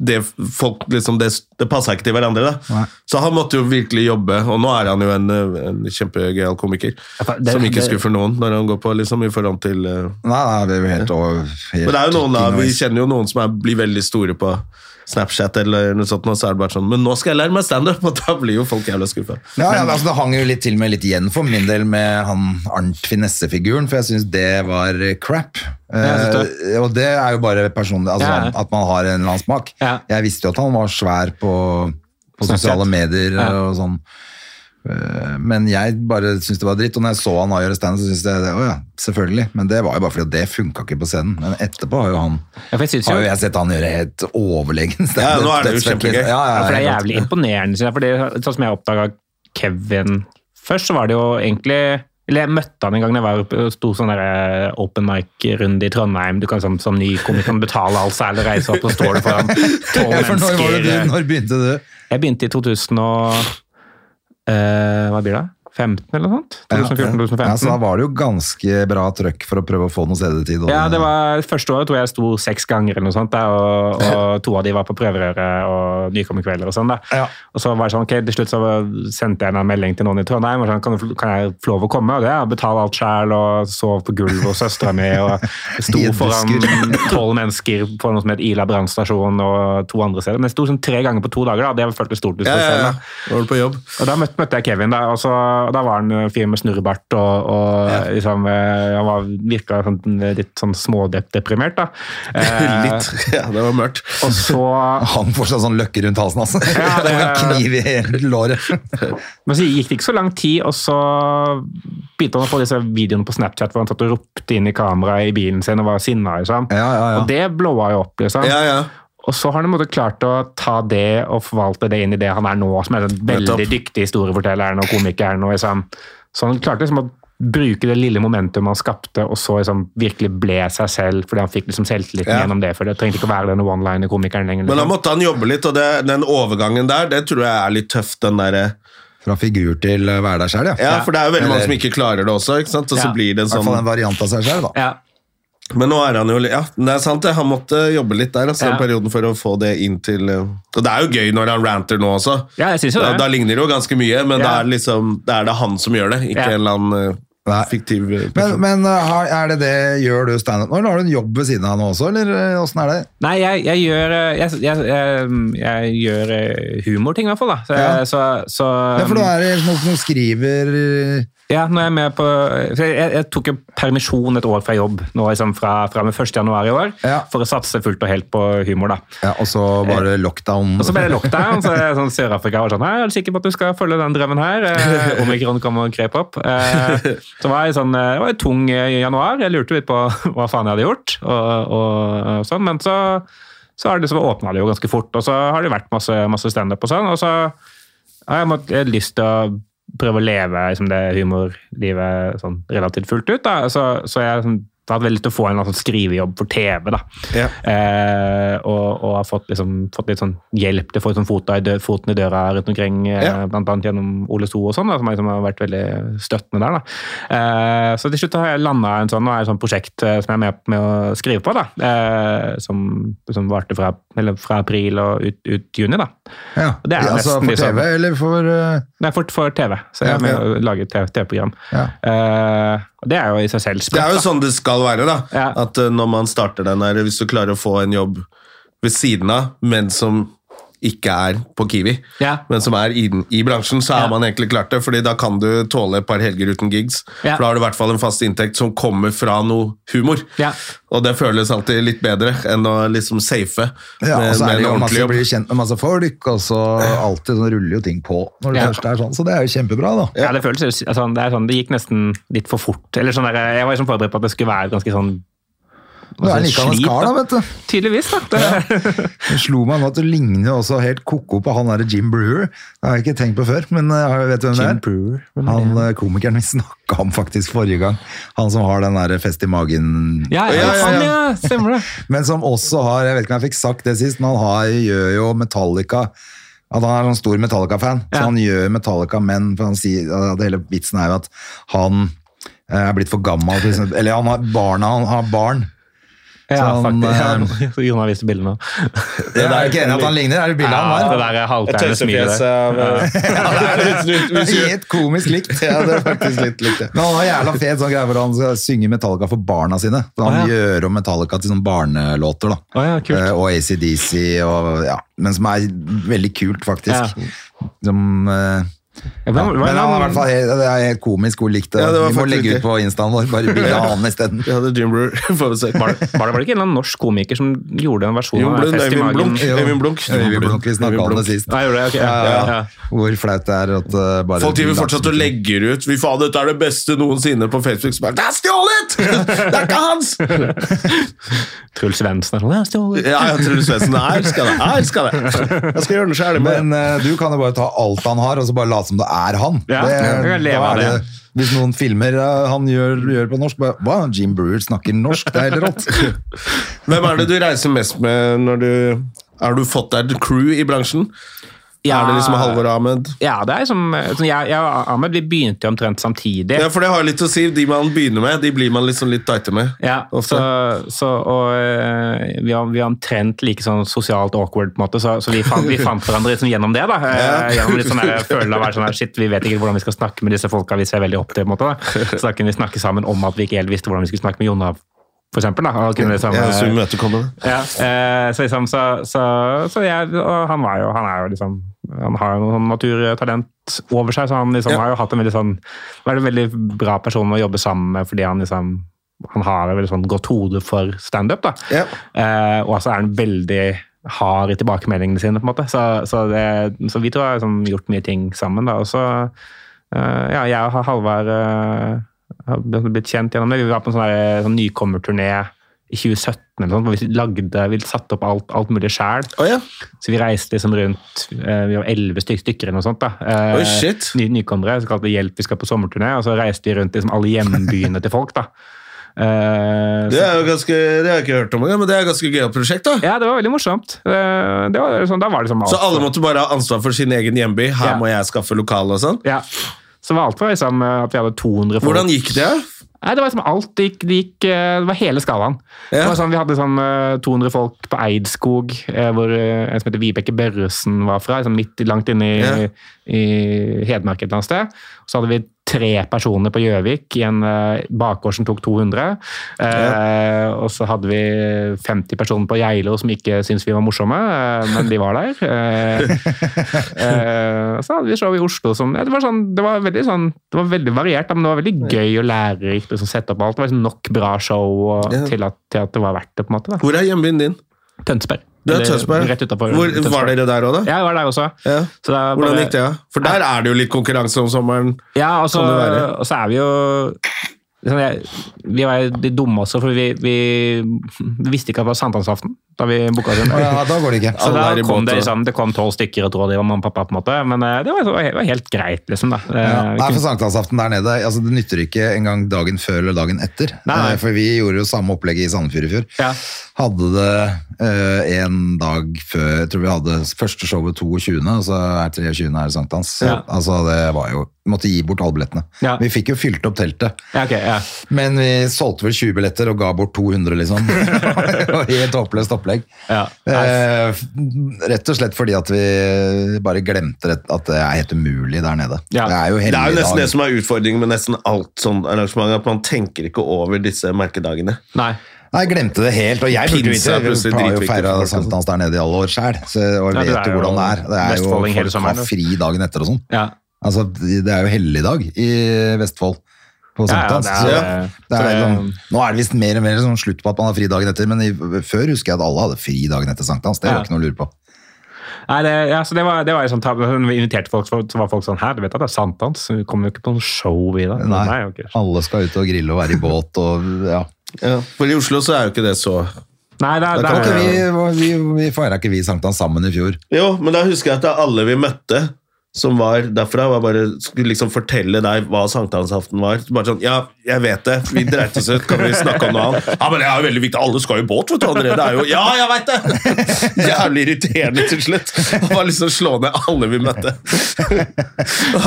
A: det, folk liksom, det, det passa ikke til hverandre, da.
B: Nei.
A: Så han måtte jo virkelig jobbe, og nå er han jo en, eh, en kjempegøyal komiker.
C: Ja, for det-
A: som ikke
C: det-
A: skuffer noen når han går på, liksom, i forhold til eh,
B: Nei, nei, det er jo helt over. helt
A: men det er jo noen da, Vi
B: innover.
A: kjenner jo noen som er, blir veldig store på Snapchat, eller noe sånt, og så er det bare sånn Men nå skal jeg lære meg standup! Og da blir jo folk jævla skuffa.
B: Ja, ja, altså, det hang jo litt til og med litt igjen for min del med han Arnt Finesse-figuren, for jeg syns det var crap.
C: jeg synes
B: Eh, og det er jo bare personlig, altså,
C: Ja, ja.
B: at man har en eller annen smak.
C: Ja.
B: Jeg visste jo at han var svær på, på
C: Snapchat.
B: sosiale medier
C: Ja.
B: og sånn. Eh, Men jeg bare syntes det var dritt, og når jeg så han gjøre stand, så syntes jeg det, å ja, selvfølgelig. Men det var jo bare fordi at det funka ikke på scenen. Men etterpå har jo han
C: Ja, for jeg synes jo-
B: har jo jeg sett han gjøre helt overlegen standup.
A: Ja, nå er det jo
B: dødsfett,
A: kjempegøy.
B: liksom. Ja, ja,
C: Ja, for det er
B: helt
C: jævlig imponerende, synes jeg. For det, sånn som jeg oppdaga Kevin først, så var det jo egentlig eller Jeg møtte han en gang da jeg var oppe og sto sånn der, eh, open mic-runde i Trondheim. Du kan som, som ny komiker kan betale alt seg eller reise opp og stå der foran tolv
B: Ja, for når, var det
C: mennesker. eh,
B: du, når begynte du?
C: Jeg begynte i 2000 og eh, Hva blir det? 15 eller noe sånt? 2014-2015.
B: Ja, så da var det jo ganske bra trøkk for å prøve å få noe sedetid. og-
C: Ja, det var første året tror jeg jeg sto seks ganger eller noe sånt, da, og, og to av de var på prøverøret og nykommerkvelder og sånn. da.
B: Ja.
C: Og så var det sånn, ok, til slutt så sendte jeg en melding til noen i Trondheim og sånn, kan, du- kan jeg få lov å komme? Og det, ja, betale alt selv og sov på gulvet hos søstera mi og sto
B: I en
C: foran tolv mennesker på noe som het Ila brannstasjon og to andre steder. Men jeg sto sånn tre ganger på to dager, da. det føltes stort ut.
A: Ja,
C: for
A: ja,
C: selv,
A: ja.
C: da.
A: Var du på jobb?
C: Og da møtte, møtte jeg Kevin, da, og, så, og da var han en fyr med snurrebart, og, og liksom, eh, han var, virka sånn, litt sånn smådeprimert, da. Eh,
A: Litt. Ja, det var mørkt.
C: Og så
B: Han får seg sånn løkke rundt halsen, altså.
C: Ja, det-
B: Og en kniv i hele låret.
C: Men så gikk det ikke så lang tid, og så begynte han å få disse videoene på Snapchat hvor han satt og ropte inn i kameraet i bilen sin og var sinna, liksom.
B: Ja, ja, ja.
C: Og det blåa jo opp, liksom.
A: Ja, ja.
C: Og så har han i en måte klart å ta det og forvalte det inn i det han er nå, som er den veldig
A: Nettopp.
C: dyktig historiefortelleren og komikeren. Og liksom. Så han klarte liksom å bruke det lille momentum han skapte, og så liksom virkelig ble seg selv, fordi han fikk liksom selvtilliten
A: Ja.
C: gjennom det. For det trengte ikke å være denne one-liner-komikeren lenger.
A: Men da
C: Liksom.
A: måtte han jobbe litt, og det, den overgangen der, det tror jeg er litt tøft, den derre
B: Fra figur til å være deg sjæl, ja.
A: Ja, for det er jo veldig mange
B: Eller-
A: som ikke klarer det også, ikke sant? Og så
C: Ja.
A: blir
B: I
A: det en
B: hvert fall en
A: sånn
B: variant av seg sjæl, da.
C: Ja.
A: Men nå er han jo li- Ja, det er sant, det. Han måtte jobbe litt der, altså, den
C: Ja.
A: perioden for å få det inn til eh, Og det er jo gøy når han ranter nå også.
C: ja, jeg synes jo
A: Da, da
C: det.
A: ligner det jo ganske mye, men
C: Ja.
A: da er det liksom Da er det han som gjør det, ikke
C: Ja.
A: en eller annen eh,
B: Nei.
A: fiktiv eh, person.
C: sånn.
B: Men, men uh, har- er det det gjør du standup nå, eller har du en jobb ved siden av nå også, eller uh, åssen er det?
C: Nei, jeg, jeg gjør eh, jeg, jeg, jeg, jeg gjør eh, humorting, i hvert fall. Da. Så,
B: Ja.
C: så, så,
B: Ja, for du er i noen som skriver uh,
C: Ja, nå er jeg med på for jeg, jeg tok jo permisjon et år fra jobb nå liksom fra, fra og med 1. januar i år
B: Ja.
C: for å satse fullt og helt på humor. da.
B: ja, Og så var det lockdown.
C: eh, Og så ble det lockdown, så er det sånn Sør-Afrika var sånn «Nei, Er du sikker på at du skal følge den drømmen her? Eh, Omikron kom og krep opp. Eh, så var jeg sånn, eh, det var en tung eh, januar. Jeg lurte litt på hva faen jeg hadde gjort. og, og, og sånn, Men så, så har det liksom åpna det jo ganske fort, og så har det vært masse, masse standup og sånn. Og så har jeg mått- jeg har lyst til å prøve å leve liksom det humorlivet sånn relativt fullt ut. Da. Så, så jeg sånn, Det hadde vært litt å få en eller annen sånn skrivejobb for TV. da.
A: Ja.
C: Eh, og, og har fått, liksom, fått litt sånn hjelp til å få sånn fota i dø foten i døra rundt omkring, eh,
A: Ja.
C: blant annet gjennom Ole So og sånn, da, som har liksom har vært veldig støttende der. da. Eh, så til slutt har jeg landa en sånn, og er et sånt prosjekt eh, som jeg er med, med å skrive på, da, eh, som, som varte fra, eller fra april og ut, ut juni. da.
B: Ja.
C: Det er
B: altså
C: nesten
B: for
C: liksom-
B: TV, eller for eh,
C: Nei, for, for TV. Så jeg
B: Ja,
C: er med
B: ja.
C: og lager TV-program.
B: Ja.
C: Eh, og det er jo i seg selv
A: Det er jo
C: da.
A: sånn det skal være, da.
C: Ja.
A: At eh, når man starter den her, hvis du klarer å få en jobb ved siden av, men som ikke er på Kiwi,
C: Ja.
A: men som er i, den- i bransjen, så har man egentlig klart det. fordi da kan du tåle et par helger uten gigs.
C: Ja.
A: For da har du i hvert fall en fast inntekt som kommer fra noe humor.
C: Ja.
A: Og det føles alltid litt bedre enn å liksom safe
B: Ja, og
A: med,
B: så er
A: med
B: det
A: en
B: jo
A: ordentlig
B: masse,
A: jobb.
B: blir du kjent med masse folk, og så alltid sånn ruller jo ting på når det
C: Ja.
B: først er sånn, så det er jo kjempebra, da.
C: Ja, det føles jo- altså, det, er sånn, det gikk nesten litt for fort. Eller sånn der, jeg var liksom forberedt på at det skulle være ganske sånn altså,
B: Du er like hans
C: slit,
B: kar, da,
C: da.
B: vet du.
C: Tydeligvis, da. Det,
B: Det slo meg nå at du ligner også helt ko-ko på han derre Jim Brewer. Det har jeg ikke tenkt på før, men jeg vet du hvem det er? Han eh, komikeren vi snakka om faktisk forrige gang. Han som har den der fest i magen
C: Ja, ja,
A: Ja, ja,
C: sånn,
A: ja.
C: ja, stemmer det.
B: Men som også har, jeg vet ikke om jeg fikk sagt det sist, men han har, gjør jo Metallica, at han er sånn stor Metallica-fan, så
C: Ja.
B: han gjør Metallica, men for han sier, at hele vitsen er jo at han eh, er blitt for gammel, for eksempel. eller han har barna, han har barn.
C: Ja,
B: Så han,
C: faktisk.
B: eh,
C: Ja, Jon har vist bildene.
B: Det er jeg ikke enig i at han ligner, er det bildet han
C: Ja, det
B: har?
C: der halvtegne smilet. der.
A: av
B: Det er helt komisk likt. Ja, det er faktisk litt likt det. Men han har jævla fet sånn greie hvor han skal synge Metallica for barna sine. Så han
C: Å, ja.
B: gjør om Metallica til sånne barnelåter da.
C: Å, ja, kult.
B: Eh, og ACDC, og, ja, men som er veldig kult, faktisk. Som, eh,
C: Ja,
B: ja.
C: men-
B: Men han er i hvert fall helt, det er helt komisk hvor likt det.
A: Ja, det var
B: Vi må
A: faktisk
B: legge ut
A: riktig.
B: på instaen vår, bare bilde av han isteden.
A: Vi hadde Jim Brewer forutsett.
C: Var det, var det vel ikke en eller annen norsk komiker som gjorde en versjon
A: Jon
C: av
A: Blund,
C: Fest i
A: Øyvind
C: magen?
A: Blunk. Øyvind Blunk.
B: Øyvind Blunk, vi snakket om det sist.
C: Nei, gjorde det? Ok.
B: Ja, ja,
C: ja.
B: ja. Hvor flaut det er at eh, bare
A: Folk driver fortsatt og legger ut Vi faen, dette er det beste noensinne på Facebook. Så bare, det er stjålet! Det er ikke hans!
C: Truls Svendsen er sånn ja, stjålet.
A: Ja, ja, Truls Svendsen. Her skal det, her skal det. Jeg skal gjøre det sjæl.
B: Men eh, du kan jo bare ta alt han har, og så bare late som det er han.
C: Ja, jeg kan leve
B: da
C: av
B: er
C: det.
B: Hvis noen filmer eh, han gjør, gjør på norsk, bare Hva? Jim Brewer snakker norsk? Det er helt rått.
A: Hvem er det du reiser mest med når du Har du fått deg et crew i bransjen?
C: Ja.
A: Er det liksom Halvor Ahmed?
C: Ja, det er liksom, sånn, jeg, jeg og Ahmed vi begynte jo omtrent samtidig.
A: Ja, for det har litt å si. De man begynner med, de blir man liksom litt tighte med.
C: Ja,
A: ofte.
C: så, så, og eh, vi var, vi var omtrent like sånn sosialt awkward, på en måte, så, så vi, fant, vi fant hverandre liksom gjennom det. da. Eh, Gjennom litt sånn der, følelsen av å være sånn her, shit, vi vet ikke hvordan vi skal snakke med disse folka vi ser veldig opp til. på en måte da. Så da kunne vi snakke sammen om at vi ikke helt visste hvordan vi skulle snakke med Jonna, for eksempel. Da. Og kunne liksom,
A: Ja, så
C: eh,
A: imøtekommende.
C: ja, eh, så liksom, så, så, så jeg, og han var jo, han er jo liksom, han har jo noe sånn naturtalent over seg, så han liksom
A: Ja.
C: har jo hatt en veldig sånn, vært en veldig bra person å jobbe sammen med, fordi han liksom, han har et veldig sånn godt hode for stand-up da.
A: Ja.
C: Eh, og så er han veldig hard i tilbakemeldingene sine, på en måte. Så, så, det, så vi to har liksom gjort mye ting sammen, da. Og så eh, Ja, jeg og Halvard eh, har blitt kjent gjennom det. Vi var på en sånn, der, sånn nykommerturné i 2017 eller sånt, hvor vi lagde, vi satte opp alt, alt mulig sjæl.
A: Å ja.
C: Så vi reiste liksom rundt eh, Vi var elleve styk, stykker eller noe sånt. da. Eh,
A: Oi, shit.
C: Ny, nykommere. Så kalte det 'Hjelp, vi skal på sommerturné'. Og så reiste vi rundt i liksom, alle hjembyene til folk. da. Eh,
A: Det er jo ganske, det har jeg ikke hørt om engang, men det er et ganske gøyalt prosjekt, da.
C: Ja, det var veldig morsomt. Eh, Det var sånn, da var det som alt.
A: Så alle måtte bare ha ansvar for sin egen hjemby. Her
C: Ja.
A: må jeg skaffe lokale og sånn.
C: Ja. Så var alt fra liksom, eh, at vi hadde 200 folk.
A: Hvordan gikk det?
C: Nei, det var liksom alt. Det, gikk, det, gikk, eh, det var hele skalaen. Det
A: Ja.
C: var sånn, vi hadde sånn eh, 200 folk på Eidskog, eh, hvor eh, en som heter Vibeke Børresen var fra. Liksom midt i- langt inne i,
A: Ja.
C: i Hedmark et eller annet sted. Så hadde vi tre personer på Gjøvik i en eh, bakgård som tok 200. Eh, Og så hadde vi 50 personer på Geilo som ikke syntes vi var morsomme, eh, men de var der. Eh, Eh, så hadde vi show i Oslo som ja, det, var sånn, det, var veldig sånn, det var veldig variert, da, men det var veldig gøy og lærerikt. Liksom, sette opp alt. Det var liksom nok bra show og,
A: Ja.
C: til, at, til at det var verdt det. på en måte da.
A: Hvor er hjembyen din?
C: Tønsberg.
A: Det er
C: Eller
A: Tønsberg.
C: Rett utenfor
A: Hvor,
C: Tønsberg.
A: Var dere der òg, da?
C: Ja, jeg var der også.
A: Ja.
C: Så det er
A: Hvordan
C: bare-
A: gikk det? Ja? For der er det jo litt konkurranse om sommeren.
C: Ja, og så,
A: Kan det være?
C: og så er vi jo liksom, jeg, Vi var jo de dumme også, for vi, vi, vi visste ikke at det var sankthansaften. da vi booka den.
B: Ja, da går det ikke.
A: Alle
C: Så da
A: er i
C: kom
A: båt,
C: det
A: og-
C: liksom, det kom tolv stykker, jeg tror det var mamma og pappa, på en måte. Men eh, det var, det var helt greit, liksom. da. Eh,
B: Ja. Nei,
C: vi
B: for
C: kunne-
B: sankthansaften der nede, altså det nytter ikke engang dagen før eller dagen etter.
C: Nei, nei.
B: Eh, For vi gjorde jo samme opplegget i Sandefjord i fjor.
C: Ja.
B: Hadde det eh, en dag før, jeg tror vi hadde første showet 22., og så er 23. er sankthans.
C: Ja.
B: Altså det var jo, vi måtte gi bort alle billettene.
C: Ja.
B: Vi fikk jo fylt opp teltet.
C: Ja, ok, ja.
B: Men vi solgte vel 20 billetter og ga bort 200, liksom. Det var Helt håpløst opplegg.
C: Ja.
B: Eh, rett og slett fordi at vi bare glemte rett- at det er helt umulig der nede.
C: Ja.
B: Det er jo
A: Det er jo nesten
B: helligdag.
A: det som er utfordringen med nesten alt sånn arrangement, at man tenker ikke over disse merkedagene.
C: Nei.
B: Nei, jeg glemte det helt, og jeg burde
A: Pinse
B: vite
A: er
B: det.
A: plutselig
B: Vi har jo
A: dritviktig
B: feira
A: for folk, altså.
B: sankthans der nede i alle år sjæl, og
C: Ja,
B: vet jo
C: det er jo
B: hvordan det er. Det er jo
C: Vestfolding hele
B: folk
C: sommeren,
B: har
C: jo.
B: fri dagen etter og sånn.
C: Ja.
B: Altså, det er jo helligdag i Vestfold på
C: Ja, ja,
B: sankthans.
C: det
B: så-
C: er-
B: Det er
C: så det-
B: sånn, nå er det visst mer og mer sånn slutt på at man har fri dagen etter, men i, før husker jeg at alle hadde fri dagen etter sankthans. Det var
C: Ja.
B: ikke noe å lure på.
C: Nei, det, ja, så det var, det var jo sånn, tab- Når vi inviterte folk, så så var folk sånn Her, du vet at det er sankthans? Vi kommer jo ikke på noe show i dag.
B: Nei,
C: ok.
B: Alle skal ut og grille og være i båt og ja.
A: For i Oslo så er jo ikke det så
C: Nei, det, er-
A: Da
C: det,
A: kan
B: Ok, vi
C: er-
B: vi, vi feira ikke vi sankthans sammen i fjor.
A: Jo, men da husker jeg at det er alle vi møtte som var derfra, var bare, skulle liksom fortelle deg hva sankthansaften var. Bare sånn Ja, jeg vet det. Vi dreit oss ut. Kan vi snakke om noe annet? Ja, men det er jo veldig viktig. Alle skal jo i båt, vet du, André. Det er jo Ja, jeg veit det! Jævlig irriterende til slutt. Han var liksom slå ned alle vi møtte.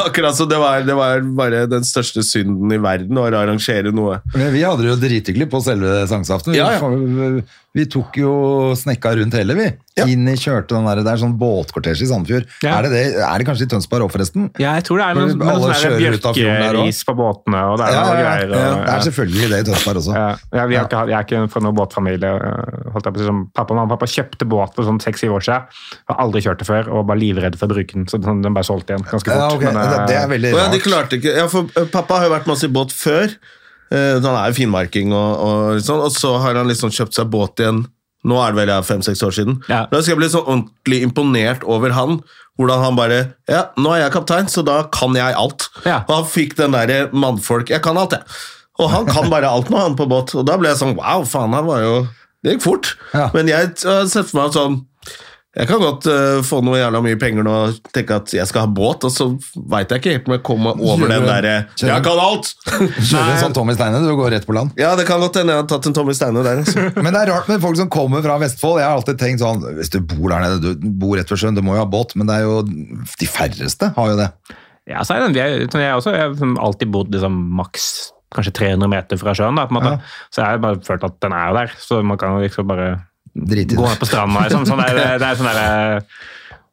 A: Akkurat som det var, det var bare den største synden i verden å arrangere noe
B: Men vi hadde det jo drithyggelig på selve sangsaften.
A: Ja, ja.
B: Vi, vi tok jo snekka rundt hele, vi.
A: Ja.
B: Inn i kjørte den der, Det er sånn båtkortesje i Sandefjord.
C: Ja.
B: Er, det det, er det kanskje i Tønsberg òg, forresten?
C: ja, jeg tror det er
B: Hvor
C: noe noe
B: alle
C: sånn
B: kjører ut av fjorden der også.
C: bjørkeris på båtene, og det er
B: Ja,
C: noe
B: ja, ja.
C: greier. Og,
B: Det er selvfølgelig det i Tønsberg også.
C: Ja, ja, vi har ikke, hatt- jeg er ikke fra noen båtfamilie. øh, Holdt jeg på, å si, som pappa og mamma pappa kjøpte båt for sånn seks-syv år siden. Har aldri kjørt det før, og var livredd for å bruke den. Så den den ble solgt igjen ganske fort.
B: Ja, ok.
C: men, øh,
B: eh, det, det er veldig
A: Å ja,
B: rart.
A: de klarte ikke ja, for, eh, Pappa har jo vært masse i båt før. Eh, så han er jo finmarking, og, og, litt sånn, og så har han liksom kjøpt seg båt igjen. Nå er det vel ja, fem-seks år siden.
C: Ja.
A: Da skal jeg bli sånn ordentlig imponert over han. Hvordan han bare Ja, nå er jeg kaptein, så da kan jeg alt.
C: Ja.
A: Og han fikk den derre mannfolk Jeg kan alt, jeg. Og han kan bare alt nå, han på båt. Og da ble jeg sånn Wow, faen, han var jo Det gikk fort.
B: Ja.
A: Men jeg t- har sett for meg sånn jeg kan godt eh, få noe jævla mye penger nå og tenke at jeg skal ha båt, og så veit jeg ikke helt om jeg kommer meg over
B: Kjører
A: den
B: du-
A: derre
B: kjører du-
A: Jeg kan alt!
B: Kjører en sånn Tommy Steine, du går rett på land.
A: Ja, det kan godt hende jeg har tatt en Tommy Steine der. Altså.
B: Men det er rart med folk som kommer fra Vestfold. Jeg har alltid tenkt sånn, hvis du bor der nede, du bor rett ved sjøen, du må jo ha båt, men det er jo, de færreste har jo det.
C: Ja, så er den, jeg, jeg, har også, jeg har liksom alltid bodd liksom, maks kanskje 300 meter fra sjøen, da, på en måte.
B: Ja.
C: så jeg har bare følt at den er jo der. Så man kan jo liksom bare
B: Drit i
C: gå
B: det.
C: ned på stranda. Liksom. Sånn der, det er sånn der,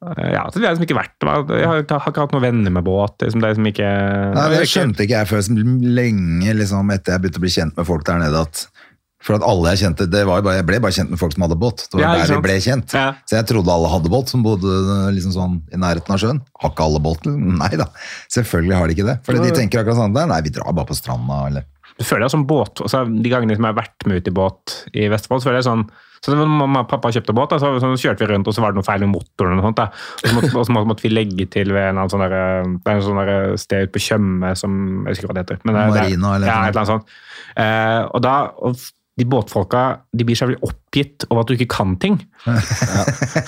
C: eh, ja, så vi har liksom ikke vært Jeg har, jeg har ikke hatt noen venner med båt. Liksom. Det er liksom ikke
B: Nei, det skjønte ikke jeg før som lenge liksom, etter jeg begynte å bli kjent med folk der nede. At, for at alle jeg kjente, det var jo bare, jeg ble bare kjent med folk som hadde båt. Det var
C: Ja, ikke
B: der vi
C: sant?
B: ble kjent.
C: Ja.
B: Så jeg trodde alle hadde båt som bodde eh, liksom sånn i nærheten av sjøen. Har ikke alle båt? liksom? Nei da, selvfølgelig har de ikke det. For de tenker akkurat sånn, nei, vi drar bare på stranda, eller...
C: Du føler deg som båt. Altså, de gangene som jeg har vært med ut i båt i Vestfold, så føler jeg sånn så det var Mamma og pappa kjøpte båt, da, så, så kjørte vi rundt, og så var det noe feil med motoren. Og noe sånt da. Og så måtte, og så måtte, måtte vi legge til ved en eller annen sånn der, det er en sånn der sted ute på Tjøme som Jeg husker ikke hva det heter. men eh, det- det-
B: Marina eller noe
C: ja, et eller annet sånt. Eh, og da, og f- de båtfolka de blir så jævlig oppgitt over at du ikke kan ting.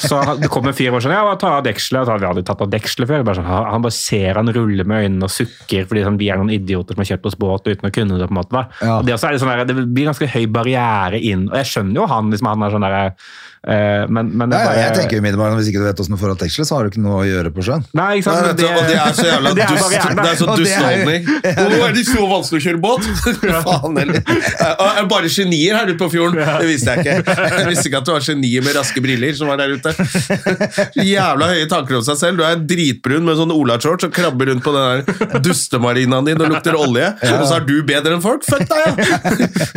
C: Så det kom en fyr og var sånn, ja, ta av dekselet. Og så hadde vi aldri tatt av dekselet før. Bare sånn, han han bare ser han rulle med øynene og sukker fordi sånn, vi er noen idioter som har kjøpt oss båt uten å kunne det. på en måte. Da.
B: Ja.
C: Og det, også er litt sånn der, det blir ganske høy barriere inn. Og jeg skjønner jo han, liksom, han er sånn der, eh, men, men
B: Ja,
C: det er
B: ja,
C: bare...
B: jeg tenker jo umiddelbart hvis ikke du vet hvordan du får av tekstlet, så har du ikke noe å gjøre på sjøen.
C: Nei, ikke sant?
A: Nei, vet du, og det er så jævla
C: det er
A: dust.
C: barrieren,
A: Det
C: da.
A: er så
B: Og det
A: dust
B: er-
A: holdning. Å, nå er det så vanskelig å kjøre båt! Faen heller. Eh, eh, Bare genier her ute på fjorden. Det visste jeg ikke. Jeg visste ikke at det var genier med raske briller som var der ute. Så Jævla høye tanker om seg selv. Du er dritbrun med sånn olashorts og krabber rundt på den der dustemarinaen din og lukter olje. Og så er du bedre enn folk? Fuck deg, ja!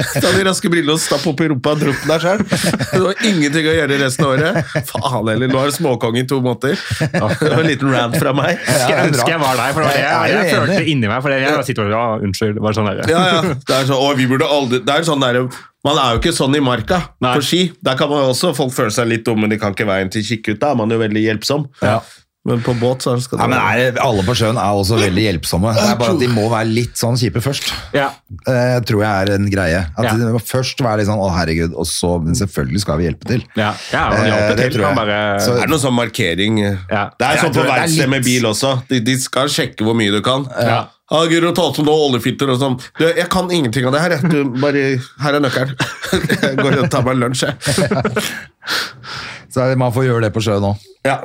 A: Ta de raske brillene og stapp opp i rumpa og drukne deg sjøl. Du har ingenting å gjøre resten av året. Faen heller, nå er det småkonge i to måneder. Det var en liten rant fra meg.
C: Jeg
B: Ja, det er
C: ønsker
B: bra.
C: jeg var der, for det var det
B: Jeg
C: jeg,
B: er
C: jeg,
B: jo
C: følte
B: enig.
C: inni meg. for det- Jeg sitter og, ja, unnskyld, bare sånn der.
A: Ja, ja. Det er sånn, å, vi burde aldri Det er sånn der, man er jo ikke sånn i marka
C: Nei.
A: på ski. Der kan man jo også Folk føler seg litt dumme, de kan ikke veien til Kikkut. Da er man jo veldig hjelpsom.
B: Ja.
A: Men på båt så skal det
B: Nei, men er, Alle på sjøen er også veldig hjelpsomme. Det er bare at de må være litt sånn kjipe først.
C: Ja.
B: Eh, tror jeg er en greie. At
C: Ja.
B: de må først være litt sånn 'å, herregud', og så Men selvfølgelig skal vi hjelpe til.
C: Ja, ja han
B: Eh, det
C: hjalp til.
B: tror
C: Han
B: jeg.
C: bare
B: Så-
A: Er det noe sånn markering
C: Ja.
A: Det er
B: Jeg
A: sånn på
B: tror det er
A: verksted
B: litt-
A: med bil også. De, de skal sjekke hvor mye du kan.
C: ja.
A: Ja, Guro, ta ut som noe oljefitter og sånn. Du, jeg kan ingenting av det her. jeg. Du, bare, her er nøkkelen. Jeg går og tar meg en lunsj, jeg.
B: Så er det- man får gjøre det på sjøen òg.
A: Ja.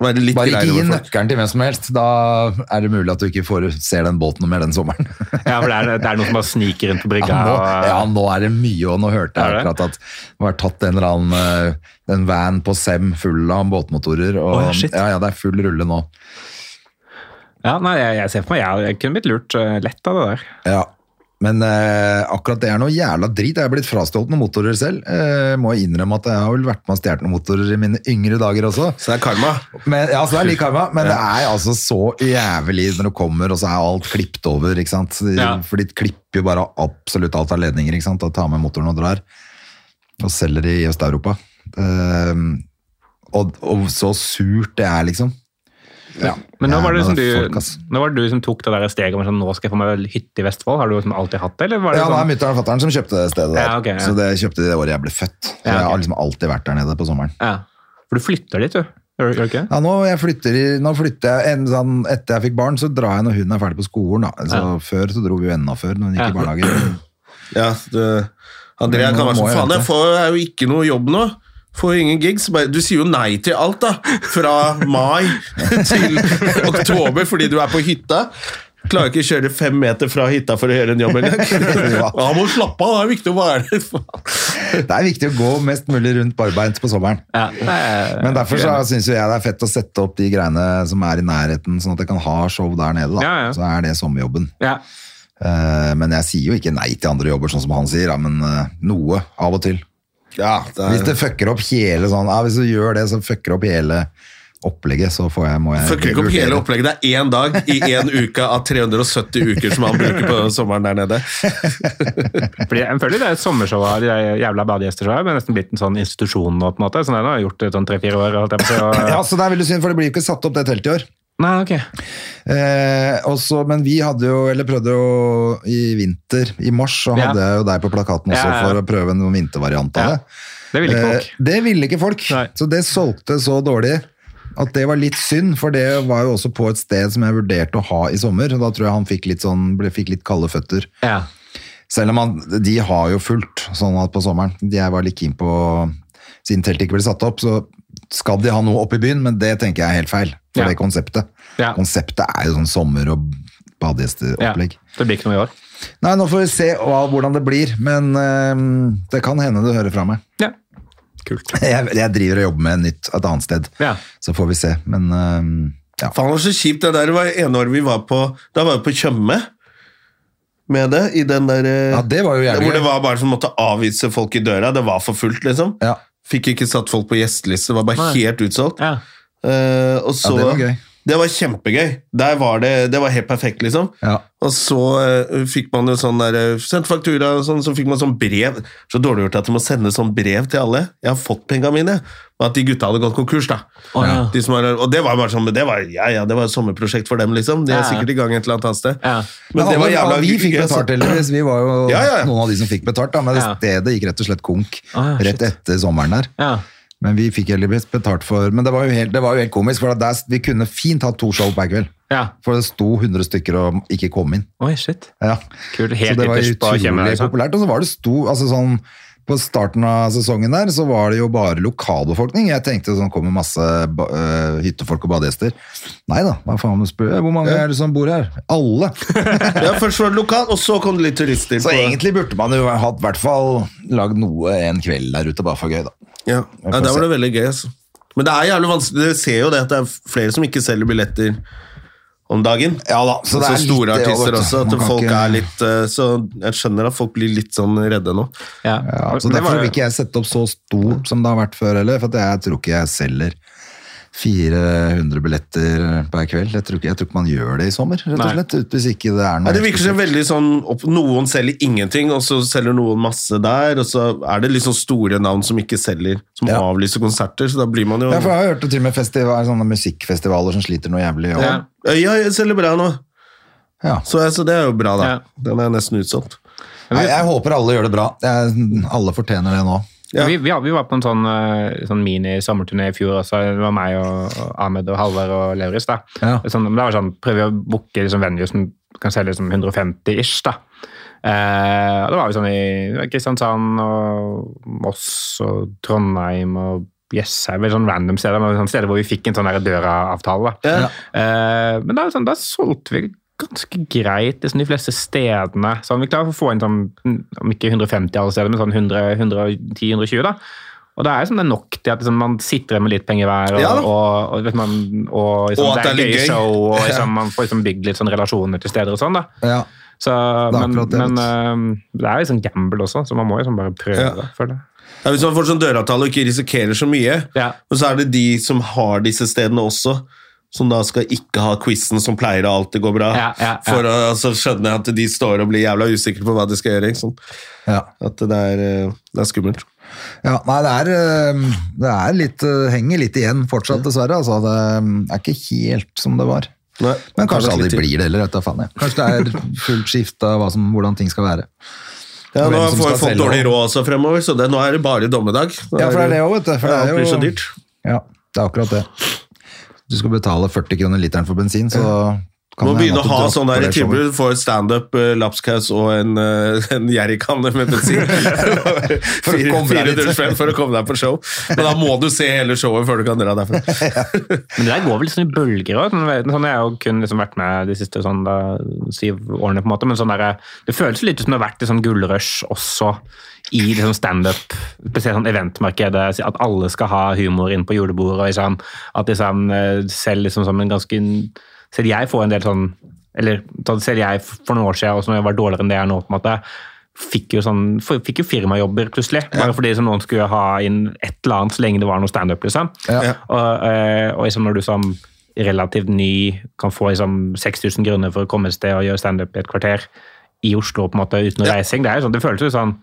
A: Bare litt
B: Bare ikke
A: greiere
B: gi
A: overfor.
B: nøkkelen til hvem som helst. Da er det mulig at du ikke får, ser den båten noe mer den sommeren.
C: ja, for det er, det er noen som bare sniker rundt på brygga.
B: Ja, nå,
C: og-
B: ja, nå er det mye, og nå hørte jeg
C: Er det?
B: akkurat at det var tatt en eller annen eh, en van på Sem full av båtmotorer. Og,
C: Å, ja, shit.
B: ja, ja, det er full rulle nå.
C: Ja, nei, jeg, jeg ser for meg, jeg, jeg kunne blitt lurt eh, lett av det der.
B: Ja. Men eh, akkurat det er noe jævla drit. Jeg er blitt frastjålet noen motorer selv. Eh, må jeg innrømme at jeg har vel vært med og stjålet noen motorer i mine yngre dager også.
A: Så det er karma.
B: Men, ja, så det er lik karma, men det er altså så jævlig når du kommer, og så er alt klippet over, ikke sant?
C: Ja.
B: For de klipper jo bare absolutt alt av ledninger, ikke sant? Og tar med motoren og drar. Og selger det i Øst-Europa. Ehm, og, og så surt det er, liksom. Ja.
C: Men nå var det
B: Jævla
C: liksom
B: folk, ass.
C: du, nå var det du som tok det der steget med sånn, nå skal jeg få meg hytte i Vestfold. Har du liksom alltid hatt det, eller var det
B: Ja, det er
C: sånn?
B: mutter'n og fatter'n som kjøpte det stedet der.
C: Ja, ok, ja.
B: Så det kjøpte de det året jeg ble født. Så
C: Ja, ok.
B: Jeg har liksom alltid vært der nede på sommeren.
C: Ja, for du flytter dit, du. Gjør gjør du ikke? det?
B: Ja, nå, jeg flytter, i- nå flytter jeg en, sånn, Etter jeg fikk barn, så drar jeg når hun er ferdig på skolen. Da. Så
C: Ja.
B: Før så dro vi jo enda før, når hun gikk i
C: Ja.
B: barnehagen.
A: Ja, du, Andrea
B: Men
A: kan
B: nå
A: være
B: må
A: sånn
B: jeg
A: Faen,
B: vente."
A: jeg får jeg har jo ikke noe jobb nå. Får jo ingen gigs. Bare, du sier jo nei til alt, da. Fra mai til oktober fordi du er på hytta. Klarer ikke å kjøre fem meter fra hytta for å gjøre en jobb engang. Han må slappe av, det er viktig å være der.
B: Det er viktig å gå mest mulig rundt barbeint på sommeren.
C: Ja. Nei,
B: Men derfor så syns jeg det er fett å sette opp de greiene som er i nærheten, sånn at jeg kan ha show der nede. Da.
C: Ja, ja.
B: Så er det sommerjobben.
C: ja.
B: Eh, men jeg sier jo ikke nei til andre jobber, sånn som han sier. Ja, men eh, noe av og til.
A: Ja, det
B: Hvis
A: er,
B: det fucker opp hele sånn ja, Hvis du gjør det, så fucker opp hele opplegget, så får jeg, må jeg
A: Fucker ikke opp hele opplegget. Det er én dag i én uke av 370 uker som han bruker på sommeren der nede.
C: Fordi jeg føler det er et sommershow av de der jævla badegjestershow, men nesten blitt en sånn institusjon nå, på en måte. Sånn jeg nå har gjort det sånn tre-fire år. holdt jeg på å si, og-
B: Ja, så Det er veldig synd, for det blir jo ikke satt opp det teltet i år.
C: Nei, ok.
B: Eh, også, men vi hadde jo, eller prøvde jo i vinter, i mars, så
C: Ja.
B: hadde jeg jo deg på plakaten også
C: Ja, ja, ja.
B: for å prøve en vintervariant av
C: Ja.
B: det.
C: Det ville ikke folk.
B: Eh, Det ville ikke folk.
C: Nei.
B: Så det solgte så dårlig at det var litt synd, for det var jo også på et sted som jeg vurderte å ha i sommer. og Da tror jeg han fikk litt, sånn, ble- fikk litt kalde føtter.
C: Ja.
B: Selv om han, de har jo fullt sånn at på sommeren. De jeg var litt keen på Siden teltet ikke ble satt opp, så skal de ha noe oppe i byen, men det tenker jeg er helt feil. For
C: Ja.
B: det konseptet.
C: Ja.
B: Konseptet er jo sånn sommer- og
C: ja.
B: badegjesteopplegg.
C: Det blir ikke noe i år.
B: Nei, nå får vi se hva, hvordan det blir, men eh, det kan hende du hører fra meg.
C: Ja. Kult.
B: Jeg, jeg driver og jobber med nytt et annet sted,
C: Ja.
B: så får vi se. Men øhm, ja.
A: Faen, det var så kjipt. Det der var ene året vi var på Da var vi på Tjøme med det. I den der eh,
B: ja, det var jo jævlig
A: Hvor det
B: gøy.
A: var bare som måtte avvise folk i døra. Det var for fullt, liksom.
B: Ja.
A: Fikk ikke satt folk på gjesteliste. Det var bare
C: Nei.
A: helt utsolgt.
C: Ja.
A: Eh, og så
B: det var gøy.
A: Det var kjempegøy. Der var det, det var helt perfekt, liksom.
B: Ja.
A: Og så eh, fikk man jo sånn der eh, Sendt faktura og sånn, så fikk man sånn brev. Så dårlig gjort at du må sende sånn brev til alle. Jeg har fått penga mine. Men at de gutta hadde gått konkurs, da.
C: Å, ja.
A: De som har, og det var bare sånn men det var, ja, ja, det var et sommerprosjekt for dem, liksom. De er
C: Ja.
A: sikkert i gang et eller annet annet sted.
C: Ja.
B: Men,
A: det
B: alle,
A: var jævla-
B: alle vi fikk
A: jeg-
B: betalt, heldigvis. Vi var jo
A: Ja, ja, ja.
B: noen av de som fikk betalt, da, men det
C: Ja.
B: stedet gikk rett og slett konk
C: Ah, shit.
B: rett etter sommeren der.
C: Ja.
B: Men vi fikk heldigvis betalt for Men det var jo helt, det var jo helt komisk, for at der, vi kunne fint hatt to show per kveld.
C: ja.
B: For det sto 100 stykker og ikke kom inn.
C: Oi, shit.
B: Ja.
C: Kult.
B: så
C: Helt
B: det var
C: ytterst på
B: utrolig
C: Tjøme, liksom.
B: populært. Og så var det sto, altså sånn, på starten av sesongen der, så var det jo bare lokalbefolkning. Jeg tenkte sånn, kommer masse ba- øh, hyttefolk og badegjester. Nei da, hva faen spør jeg? Hvor mange er det som bor her? Alle!
A: Ja, først var det lokalt, og så kom det litt turister.
B: Så
A: på-
B: egentlig burde man jo hatt i hvert fall lagd noe en kveld der ute, bare for gøy, da.
A: Ja, ja der var det veldig gøy, altså. Men det er jævlig vanskelig. Dere ser jo det at det er flere som ikke selger billetter om dagen.
B: Ja da, så
A: Og
B: det er
A: så store
B: litt det også,
A: artister
B: vet du.
A: også.
B: Man
A: At
B: kan
A: folk
B: ikke-
A: er litt eh, Så jeg skjønner at folk blir litt sånn redde nå.
C: Ja.
B: Ja, så
C: Men det
B: Derfor
C: var-
B: vil ikke jeg sette opp så stort som det har vært før heller, for at jeg tror ikke jeg selger 400 billetter per kveld. Jeg tror ikke, jeg tror ikke man gjør det i sommer, rett og
C: Nei.
B: slett. ut- Hvis ikke det er noe
A: Nei, det virker som veldig sånn opp, Noen selger ingenting, og så selger noen masse der, og så er det liksom store navn som ikke selger, som
B: Ja.
A: avlyser konserter, så da blir man jo
B: Ja, for jeg har hørt det til og med festival, sånne musikkfestivaler som sliter noe jævlig. Og,
A: Ja. Øya selger bra nå,
B: Ja.
A: så altså, det er jo bra, da.
C: Ja.
A: Den er nesten utsolgt.
B: Nei, jeg håper alle gjør det bra. Jeg, alle fortjener det nå.
A: Ja.
C: Vi, vi, vi var på en sånn, eh, sånn mini-sommerturné i fjor også. Det var meg og, og Ahmed og Halvard og Lauritz. da.
B: Ja.
C: Sånn, men det var sånn, Prøve å booke liksom, venue som kan selge liksom, 150-ish. da. Eh, og da var vi sånn i Kristiansand og Moss og Trondheim og Jessheim. veldig Sånn random steder, men sånn steder hvor vi fikk en sånn der døra-avtale. da.
A: Ja.
C: Eh, men da, er det sånn, da solgte vi ganske greit liksom, de fleste stedene. Sånn, vi klarer å få inn sånn, om ikke 150 alle steder, men sånn 110-120. da. Og det er sånn, det er nok til at liksom, man sitter igjen med litt penger hver, og,
A: Ja.
C: og, og, vet man, og, liksom,
A: Og at
C: det er
A: det er litt
C: gøy
A: gøy.
C: show, og liksom, man får liksom, bygd litt sånn, relasjoner til steder og sånn. da.
B: Ja.
C: Så,
B: Det er
C: men
B: akkurat det,
C: men
B: vet
C: eh, det er liksom gamble også, så man må liksom bare prøve.
A: Ja.
C: føler jeg.
A: Ja, hvis man får sånn døravtale og ikke risikerer så mye,
C: Ja.
A: og så er det de som har disse stedene også, som da skal ikke ha quizen som pleier å alltid gå bra,
C: Ja, ja, ja.
A: for å altså, skjønne at de står og blir jævla usikre på hva de skal gjøre. Ikke sant?
B: Ja.
A: At det er, eh, det er skummelt.
B: Ja, nei, det er, øhm, det er litt, øh, henger litt igjen fortsatt, dessverre. Altså, det øhm, er ikke helt som det var.
A: Nei,
B: Men kanskje
A: det er litt
B: aldri
A: tid.
B: blir det heller, vet du faen jeg. Kanskje det er fullt skift av hva som, hvordan ting skal være.
A: Ja,
B: hvem
A: nå
B: som
A: får
B: skal
A: folk
B: selge
A: dårlig
B: og-
A: råd også fremover, så det, nå er det bare dommedag. Nå
B: Ja, for det er det også, vet du, for
A: ja,
B: det er
A: alt blir
B: jo-
A: så dyrt.
B: Ja, det er akkurat det. Du skal betale 40 kroner literen for bensin, så kan
A: Må
B: det hende
A: begynne
B: at du
A: å ha
B: dropper
A: sånn der
B: det showet.
A: tilbud for standup, eh, lapskaus og en, eh, en jerrykanne med bensin. for,
B: å komme deg dit.
A: for å komme deg på show. Men da må du se hele showet før du kan dra derfra.
C: Men det der går vel sånn i bølger òg. Sånn, sånn, jeg har jo kun liksom vært med de siste sånn, da, syv årene, på en måte. Men sånn der, det føles litt som det har vært et sånn gullrush også i liksom standup, spesielt sånn eventmarkedet. At alle skal ha humor inn på julebordet. Og liksom, at liksom, eh, selv liksom som en ganske Selv jeg får en del sånn Eller sånn, selv jeg for noen år siden, også når jeg var dårligere enn det jeg er nå, på en måte fikk jo, sånn, f- fikk jo firmajobber plutselig, bare fordi liksom, noen skulle ha inn et eller annet så lenge det var noe standup. Liksom.
B: Ja.
C: Og, eh, og liksom når du som relativt ny kan få liksom 6000 grunner for å komme et sted og gjøre standup i et kvarter i Oslo på en måte uten noe reising, det, er jo sånn, det føles jo sånn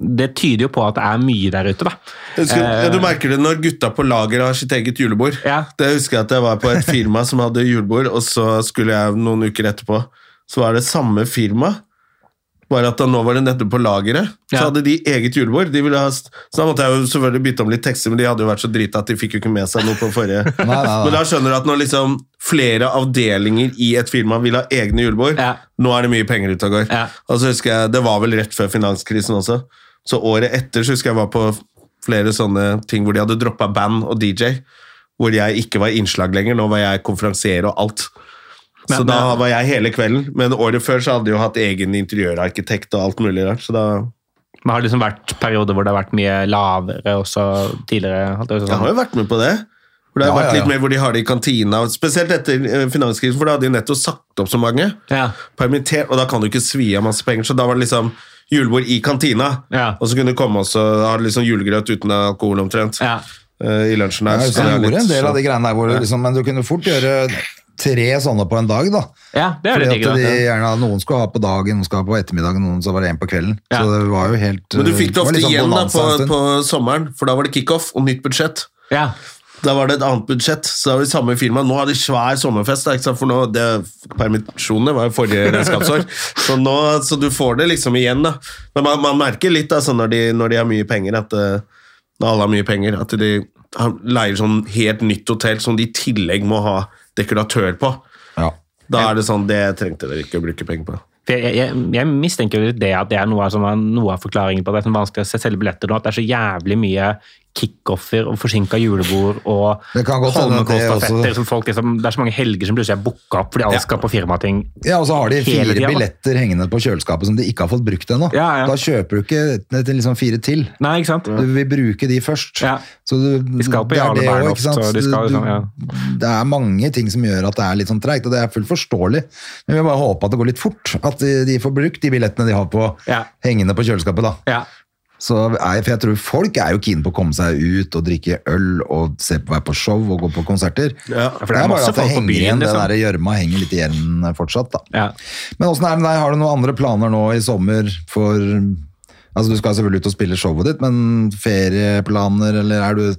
C: Det tyder jo på at det er mye der ute, da.
A: Jeg Husker, ja, du merker det når gutta på lager har sitt eget julebord.
C: Ja.
A: Det husker jeg at jeg var på et firma som hadde julebord, og så skulle jeg noen uker etterpå, så var det samme firma, bare at da nå var det nettopp på lageret. Så
C: Ja.
A: hadde de eget julebord. De ville ha, st- så da måtte jeg jo selvfølgelig bytte om litt tekster, men de hadde jo vært så drita at de fikk jo ikke med seg noe på forrige.
B: nei, nei.
A: Men da skjønner du at når liksom flere avdelinger i et firma vil ha egne julebord,
C: Ja.
A: nå er det mye penger ute og går.
C: Ja.
A: Og så husker jeg, Det var vel rett før finanskrisen også. Så året etter så husker jeg var på flere sånne ting hvor de hadde droppa band og DJ. Hvor jeg ikke var innslag lenger. Nå var jeg konferansier og alt. Så
C: Men-
A: da
C: men-
A: var jeg hele kvelden. Men året før så hadde jeg jo hatt egen interiørarkitekt og alt mulig rart. Så da
C: Men har det liksom vært perioder hvor det har vært mye lavere også tidligere? holdt jeg på å si
A: Jeg har
C: sånn.
A: jo vært med på det. Hvor det har
B: Ja, ja, ja.
A: vært litt mer hvor de har det i kantina. Spesielt etter eh, finanskrisen, for da hadde de nettopp sagt opp så mange.
C: Ja.
A: Permittert, og da kan du ikke svi av masse penger. Så da var det liksom julebord i kantina.
C: Ja.
A: Og så kunne du komme også, ha liksom julegrøt uten alkohol omtrent.
C: Ja.
A: eh, I lunsjen
B: Ja,
A: der.
B: så
A: det er
B: jeg gjorde
A: litt
B: en del av de
A: sånn-
B: greiene der, hvor, du liksom, men du kunne fort gjøre tre sånne på en dag, da.
C: ja, det er
B: Fordi
C: litt
B: at
C: digg. da.
B: de gjerne, noen skulle ha på dagen, noen skulle ha på ettermiddagen, noen så var det en på kvelden.
C: Ja.
B: Så det var jo helt
A: Men du fikk det
B: var
A: ofte
B: liksom
A: igjen da
B: bonanza
A: på,
B: en stund.
A: på sommeren, for da var det kickoff og nytt budsjett.
C: Ja.
A: Da var det et annet budsjett, så da var det samme firma. Nå har de svær sommerfest, da, ikke sant? for nå, det, permisjonene var jo forrige regnskapsår. Så, nå, så du får det liksom igjen, da. Men man, man merker litt altså, når, de, når de har mye penger, at eh, når alle har mye penger, at de har- leier sånn helt nytt hotell som de i tillegg må ha dekoratør på.
B: Ja.
A: Da er det sånn, det trengte dere ikke å bruke penger på.
C: For jeg, jeg, jeg mistenker jo litt det at det er noe av, som er noe av forklaringen på at det er sånn vanskelig å se- selge billetter nå. At det er så jævlig mye kickoffer og forsinka julebord og
B: Det kan godt hende at det også-
C: Holmenkollstafetter. som folk Liksom, det er så mange helger som plutselig er booka opp fordi alle skal på firmating.
B: ja, og så har de
C: Hele
B: fire
C: tida, da.
B: billetter hengende på kjøleskapet som de ikke har fått brukt ennå.
C: Ja, ja.
B: Da kjøper du ikke et- liksom fire til.
C: Nei, ikke sant?
B: Du vil bruke de først.
C: Ja.
B: Så du, de
C: skal på Jarle Bernhoft, så de skal liksom, ja.
B: Det er mange ting som gjør at det er litt sånn treigt, og det er fullt forståelig. Men vi bare håper at det går litt fort. At de, de får brukt de billettene de har på
C: Ja.
B: hengende på kjøleskapet, da.
C: Ja.
B: Så er, for jeg tror folk er jo keen på å komme seg ut og drikke øl og se på, være på show og gå på konserter.
A: Ja,
B: for det er, bare
C: masse
B: at det
C: folk på
B: henger
C: byen,
B: igjen, den
C: liksom.
B: der gjørma henger litt igjen eh, fortsatt. da.
C: Ja.
B: Men åssen er det med deg? Har du noen andre planer nå i sommer for Altså Du skal selvfølgelig ut og spille showet ditt, men ferieplaner, eller er du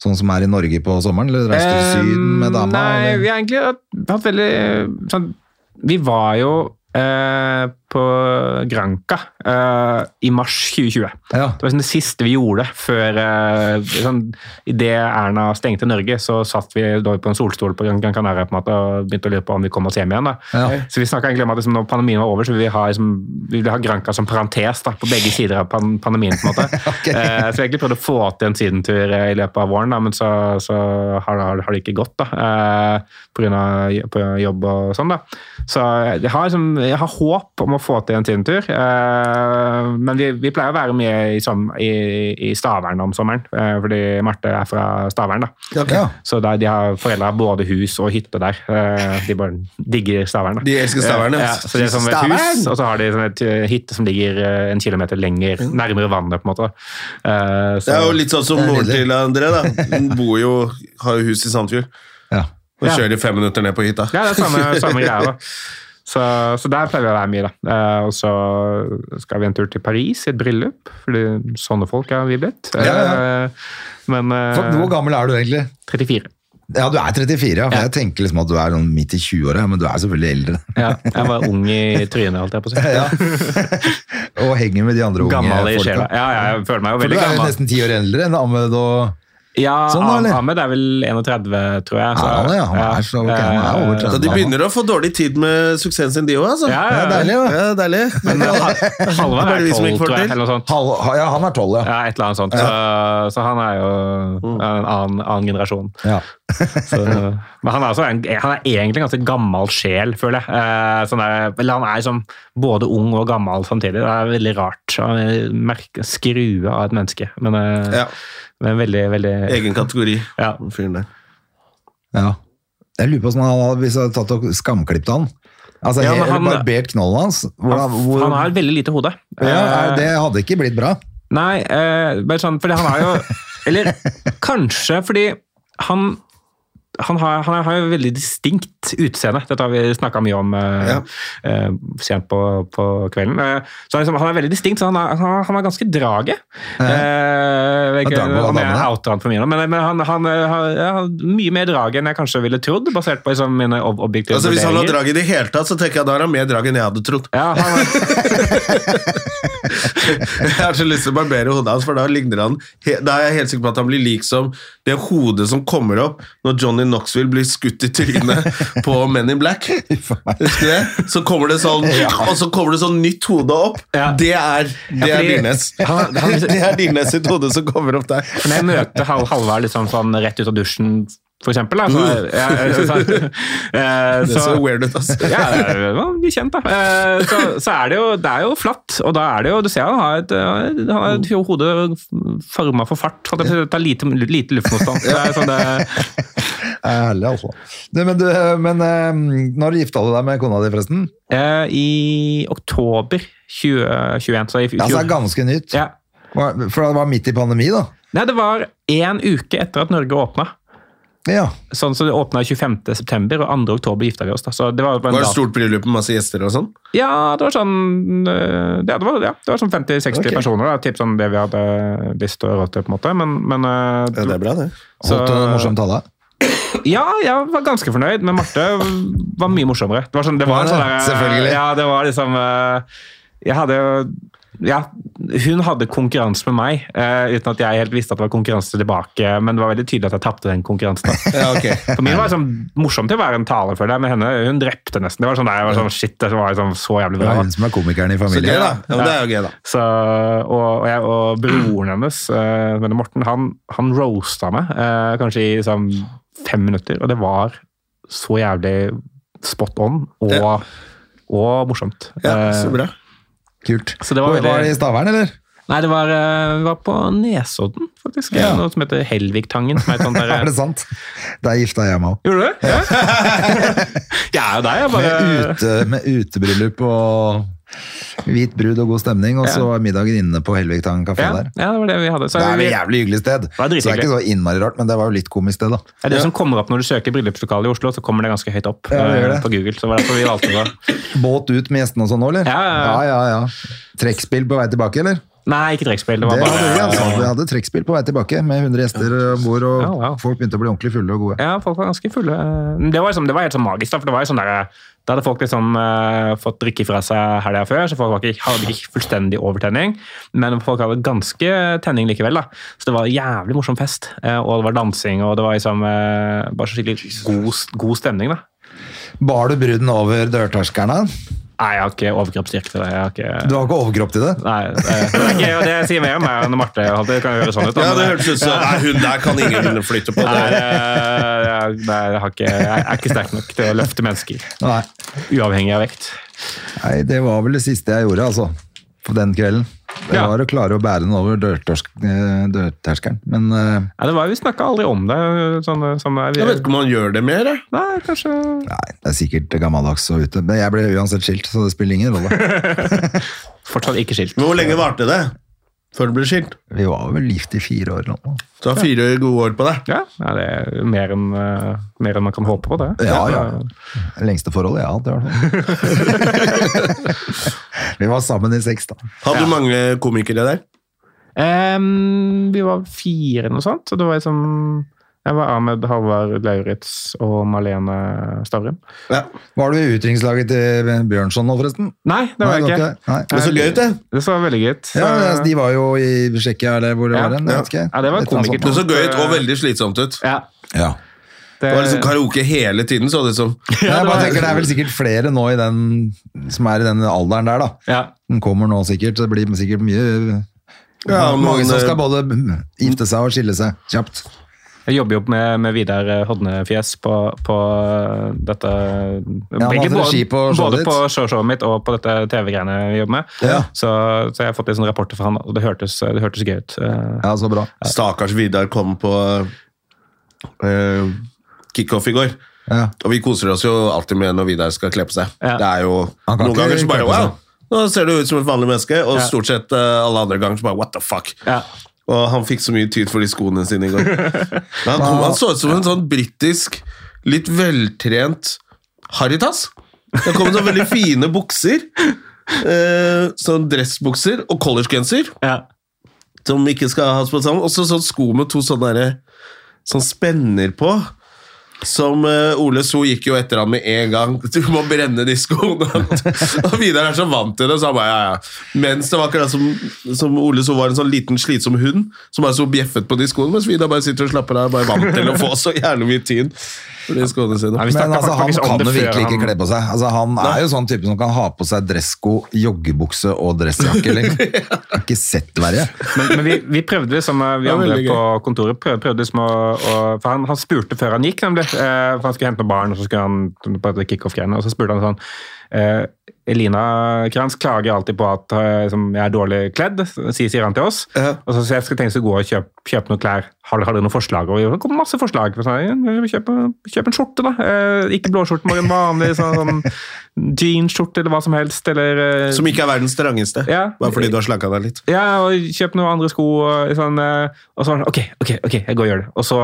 B: sånn som er i Norge på sommeren? Eller reiser du til Syden med dama?
C: Eh, Nei,
B: eller?
C: vi har egentlig hatt- hatt veldig eh, sånn, Vi var jo eh, på Granca eh, i mars 2020.
B: Ja.
C: Det var sånn det siste vi gjorde før eh, sånn, Idet Erna stengte Norge, så satt vi da på en solstol på Gran Gran Canaria på en måte, og begynte å lure på om vi kom oss hjem igjen. da.
B: Ja.
C: Så vi snakket egentlig om at liksom, når pandemien var over, så ville vi ha, liksom, vi ville ha Granca som parentes da, på begge sider av pan pandemien. på en måte.
B: Ok.
C: Eh, så vi egentlig prøvde å få til en sydentur eh, i løpet av våren, da, men så, så har, har, har det ikke gått da, eh, på grunn av j- på jobb og sånn. da. Så jeg har, liksom, jeg har håp om å få til en sydentur, eh, men vi, vi pleier å være mye i, som, i, i Stavern om sommeren, eh, fordi Marte er fra Stavern. da.
B: Ja.
C: Så da, de har foreldre har både hus og hytte der. Eh, De bare digger Stavern. da.
A: De elsker Stavern, ja.
C: ja. Så de har sånn et hus,
A: Stavern!
C: og så har de sånn et eh, hytte som ligger eh, en kilometer lenger, nærmere vannet, på en måte. Eh,
A: Det
C: Så,
A: er jo litt sånn som
B: Det er
A: moren
B: nydelig.
A: til André, da. Hun bor jo, har jo hus i Sandfjord.
B: Ja.
A: Og
C: Ja.
A: kjører i fem minutter ned på hytta.
C: ja, det er samme, samme greia, da. Så, så der pleier vi å være mye, da. Eh, Og så skal vi en tur til Paris i et bryllup, fordi sånne folk er vi blitt.
B: Ja, ja.
C: Eh, Men eh,
B: For, hvor gammel er du egentlig?
C: 34.
B: Ja, du er 34, ja. For jeg tenker liksom at du er sånn midt i 20-åra, men du er selvfølgelig eldre.
C: Ja, jeg var ung i trynet, holdt jeg på å si.
B: og henger med de andre unge
C: Gammel i
B: folka.
C: sjela. Ja, ja, jeg føler meg jo
B: For du er
C: veldig
B: jo
C: gammel.
B: nesten ti år eldre enn Ahmed og
C: Ja,
B: Sånn, da, eller?
C: Ahmed er vel 31, tror jeg.
B: Er han det, ja? Han er så- ok, han er over 30.
A: Så de begynner å få dårlig tid med suksessen sin, de òg, altså.
C: Ja, ja, ja.
A: deilig, da. ja, deilig.
C: Men Hal- Halvard
A: Bare
C: er
A: vi som
C: 12,
A: ikke får
C: tror jeg,
A: til.
C: eller noe sånt.
B: Hal Ja, han er tolv, ja.
C: Ja, et eller annet sånt. Så, så han er jo
A: Mm.
C: en annen, annen generasjon.
B: ja.
C: Så, men han er, også en, han er egentlig en ganske gammel sjel, føler jeg. Eh, Sånn der, eller han er liksom både ung og gammel samtidig. Det er veldig rart. Han er en merke- Skrue av et menneske. Men, eh,
A: Ja.
C: men veldig, veldig
A: Egen kategori.
C: Ja.
A: den fyren der.
B: ja. Jeg lurer på hvordan han hadde, hvis jeg hadde tatt og skamklippet han. Altså,
C: Ja, men
B: helt-
C: han-
B: Barbert knollen hans. Hvordan,
C: Han,
B: hvor,
C: han har et veldig lite hode.
B: ja, er,
C: Eh,
B: det hadde ikke blitt bra.
C: Nei, eh, bare sånn, fordi han er jo Eller kanskje fordi han han har, han har jo veldig distinkt utseende. Dette har vi snakka mye om eh,
A: Ja.
C: eh, sent på, på kvelden. Eh, så han liksom, han er veldig distinkt, så han er, han er, han er ganske draget. Eh, vet ikke
B: Han er draget
C: om
B: av
C: jeg
B: damene.
C: outer han for mye nå, men, men han, han, eh, har, ja, har mye mer drag enn jeg kanskje ville trodd, basert på liksom, mine ob objektive
A: Altså, hvis han har drag i det hele tatt, så tenker jeg da har han mer drag enn jeg hadde trodd.
C: Ja, han er,
A: Jeg har så lyst til å barbere hodet hans, for da ligner han he- Da er jeg helt sikker på at han blir lik som det hodet som kommer opp når Johnny Knoxville blir skutt i trynet på Men in Black. Husker du det? Så kommer det sånn, og så kommer det sånn nytt hode opp.
C: Ja.
A: Det er, det er
C: Ja, fordi-
A: Dyrnes.
C: Han- han-
A: Det er Dyrnes sitt hode som kommer opp der.
C: Men jeg møter Hal Halvard liksom sånn rett ut av dusjen, for eksempel. Da. Så, jeg, jeg, så, eh,
A: Det
C: så,
A: ser weird ut, altså.
C: ja, det er jo blir kjent, da. Eh, Så, så er det, jo, det er jo flatt, og da er det jo Du ser han har et, eh, han har et hode forma for fart. Så det tar lite, lite luftmotstand. Det er sånn det,
B: Ærlig, altså. Du, men, du, men eh, når gifta du deg med kona di, forresten?
C: eh, I oktober 2021, så
B: Ja, så er
C: i
B: Altså, det
C: fjor
B: ganske nytt.
C: ja.
B: For det var midt i pandemi, da.
C: Nei, det var én uke etter at Norge åpna.
B: Ja.
C: Sånn, så det åpna 25.9., og 2.10 gifta vi oss. Da. Så det var, på en
A: Var det
C: dato-
A: stort bryllup med masse gjester og sånn?
C: Ja, det var sånn øh, ja, det var, ja, det var sånn 50-60
B: Ok.
C: personer. Da, typ sånn det vi hadde lyst til og råd til, på en måte. Men, men øh,
A: Ja, det er bra, det.
C: Så-
B: Holdt du en morsom tale?
C: ja, jeg var ganske fornøyd. Men Marte var mye morsommere. Det var sånn, det
B: Ja,
C: var en sånn der, øh,
B: selvfølgelig.
C: Ja, det var liksom øh, Jeg hadde jo ja, hun hadde konkurranse med meg, øh, uten at jeg helt visste at det var konkurranse tilbake. Men det var veldig tydelig at jeg tapte den konkurransen. da.
A: Ja, ok.
C: For min var det sånn morsomt til å være en taler for deg, men henne, hun drepte nesten. Det var sånn der, jeg var sånn, shit, det var liksom så jævlig
B: Det
C: bra.
B: er hun som er komikeren i
A: Så gøy,
B: familien.
A: da. Ja, men det er jo gøy, da.
C: Så, og, og, jeg, og broren hennes, eh, Mette Morten, han, han roasta meg eh, kanskje i liksom, fem minutter, og det var så jævlig spot on og,
A: Ja.
C: og morsomt.
A: Ja,
C: Eh,
A: så bra.
B: Kult.
C: Så det var
B: Hvor-
C: veldig-
B: var det i Stavern, eller?
C: Nei, det var, eh, vi var på Nesodden, faktisk.
B: Ja.
C: Noe som heter Helvigtangen. Som er et sånt der,
B: Er det sant? Der gifta jeg meg òg.
C: Gjorde du det? Ja. jeg er jo deg, jeg bare
B: Med, ute, med utebryllup og Hvit brud og god stemning, og så var middagen inne på Helvigtang kafé
C: Ja,
B: der.
C: ja, det var det vi hadde. Så
B: Det er
C: vi-
B: et jævlig hyggelig sted. Så det er ikke så
C: drithyggelig.
B: innmari rart, men det var jo litt komisk sted, da.
C: Ja, det som kommer opp når du søker bryllupslokale i Oslo, så kommer det ganske høyt opp
B: Ja, det gjør
C: eh,
B: det.
C: på Google. Så var det derfor vi valgte det.
B: Båt ut med gjestene og sånn nå, eller?
C: Ja, ja,
B: ja.
C: ja.
B: ja, ja. Trekkspill på vei tilbake, eller?
C: Nei, ikke trekkspill. Det
B: Det
C: var
B: hadde vi,
C: bare
B: altså. Vi hadde trekkspill på vei tilbake med 100 gjester om bord, og
C: Ja, wow.
B: folk begynte å bli ordentlig fulle og gode.
C: Ja, folk var ganske fulle. Men Det var, liksom, det var helt sånn magisk, da. For det var jo sånn der, eh, da hadde folk liksom eh, fått drikke fra seg helga før, så folk var ikke, hadde ikke fullstendig overtenning. Men folk hadde ganske tenning likevel, da. Så det var en jævlig morsom fest. Eh, og det var dansing, og det var liksom eh, bare så skikkelig god, god stemning, da.
B: Bar du bruden over dørterskerne?
C: Nei, jeg har ikke overkroppsstyrke til det. Jeg har ikke...
B: Du har ikke overkropp til det?
C: Nei, eh, det, det er ikke det jeg sier mer om meg enn Marte. holdt Det Det kan jo høre sånn ut. da,
A: Ja,
C: men
A: det hørtes ut som Nei, hun der kan ingen flytte på.
C: Nei,
A: Det.
C: jeg, nei, jeg, har ikke, jeg er ikke sterk nok til å løfte mennesker,
B: Nei.
C: uavhengig av vekt.
B: Nei, det var vel det siste jeg gjorde, altså. På den kvelden. Det
C: Ja.
B: var å klare å bære den over dørtorsk- eh, dørterskelen. Men eh,
C: Nei, det var, vi snakka aldri om det. Sånn, sånn er vi,
A: Jeg vet ikke om han gjør det mer. jeg.
C: Nei, kanskje
B: nei, det er sikkert gammeldags og ute. Men jeg ble uansett skilt, så det spiller ingen rolle.
C: Fortsatt ikke skilt.
A: Men hvor lenge varte det før det ble skilt?
B: Vi var vel gift i fire år nå.
A: Du har fire gode år på deg.
C: Ja, nei, det er mer enn, eh, mer enn man kan håpe på, det.
B: Ja, ja. Det lengste forholdet jeg har hatt, i hvert fall. Vi var sammen i seks, da.
A: Hadde du mange komikere der?
C: Em, vi var fire eller noe sånt, så det var liksom jeg var Ahmed, Halvard Lauritz og Malene Stavrum.
B: Var du i utdrikningslaget til Bjørnson nå, forresten?
C: Nei, det var
B: Nei,
C: jeg
B: det
C: ikke.
B: var ikke det. Nei.
A: Det er så gøy ut, det.
C: Det så veldig gøy ut.
B: Ja, altså,
C: Så-
B: De var jo i Tsjekkia, eller hvor det
C: Ja,
B: var hen. jeg vet ikke.
C: Ja, det var
B: Et eller annet
C: komiker-
A: Det så gøy ut, og veldig slitsomt ut.
C: ja,
B: sånt. Ja.
C: det,
A: Det var
C: Eh.
A: liksom karaoke hele tiden, så det liksom- ut som.
B: Nei, jeg
C: det
B: bare
C: var-
B: tenker Det er vel sikkert flere nå i den, som er i den alderen der, da.
C: ja.
B: Den kommer nå sikkert, så det blir sikkert mye
A: Ja, og
B: Mange
A: noen,
B: som
A: eh,
B: skal både gifte seg og skille seg kjapt.
C: Jeg jobber jo med, med Vidar eh, Hodnefjes på, på eh, dette
B: han
C: begge-
B: hadde regi på showet
C: både
B: ditt.
C: på showshowet mitt og på dette TV-greiene vi jobber med.
B: Ja.
C: Så, så jeg har fått litt sånne rapporter fra han, og det hørtes, det hørtes gøy ut. Eh,
B: Ja, så bra.
A: Stakkars Vidar kom på eh, kickoff i går.
B: Ja.
A: Og vi koser oss jo alltid med når Vidar skal kle på seg.
C: Ja.
A: Det er jo
B: Han kan
A: Noen
B: ikke
A: ganger så bare
B: kle på seg.
A: wow! Nå ser du ut som et vanlig menneske, og
C: Ja.
A: stort sett eh, alle andre ganger så bare what the fuck.
C: Ja.
A: Og han fikk så mye tyd for de skoene sine i går. Men han, kom, han så ut som en sånn britisk, litt veltrent harrytass. Det kom med sånne veldig fine bukser. Eh, sånn dressbukser og collegegenser
C: Ja.
A: som ikke skal ha på sammen. Også sånn sko med to sånne derre- sånn spenner på. Som eh, Ole So gikk jo etter han med en gang. Du må brenne de skoene! og Vidar er så vant til det, så han bare ja, ja. Mens det var akkurat som, som Ole So var en sånn liten slitsom hund som bare så bjeffet på de skoene, mens Vidar bare sitter og slapper av. Bare vant til å få så jævlig mye tyn for de skoene
C: Nei,
A: sine.
C: vi
B: Men
C: snakket
B: altså, han
C: faktisk om
B: kan
C: det
B: jo
C: før
B: virkelig ikke
C: han-
B: kle på seg. Altså, han er jo sånn type som kan ha på seg dressko, joggebukse og dressjakke. Liksom. Har ikke sett verre.
C: Men, men vi, vi prøvde liksom, eh, vi
A: Det var
C: andre
A: veldig gøy.
C: på kontoret prøvde, prøvde liksom å, å For han, han spurte før han gikk, nemlig. eh, For han skulle hente noen barn, og så skulle han på dette kickoff-greiene. Og så spurte han sånn eh, Elina Kranz klager alltid på at eh, liksom, jeg er dårlig kledd, sier, sier han til oss. Og så sier jeg skal tenke seg å gå og kjøpe, kjøpe noen klær. Har, dere- har dere noen forslag? Og det kom masse forslag. Så jeg, «Ja, Kjøp, kjøp en skjorte, da. Eh, Ikke blåskjorte, bare en vanlig sånn, sånn jeansskjorte eller hva som helst. Eller eh,
A: Som ikke er verdens strangeste.
C: Ja.
A: Bare fordi du har slanka deg litt.
C: ja, og kjøp noen andre sko. Og, sånn, eh, og så var han ok, ok, ok, jeg går og gjør det. Og så,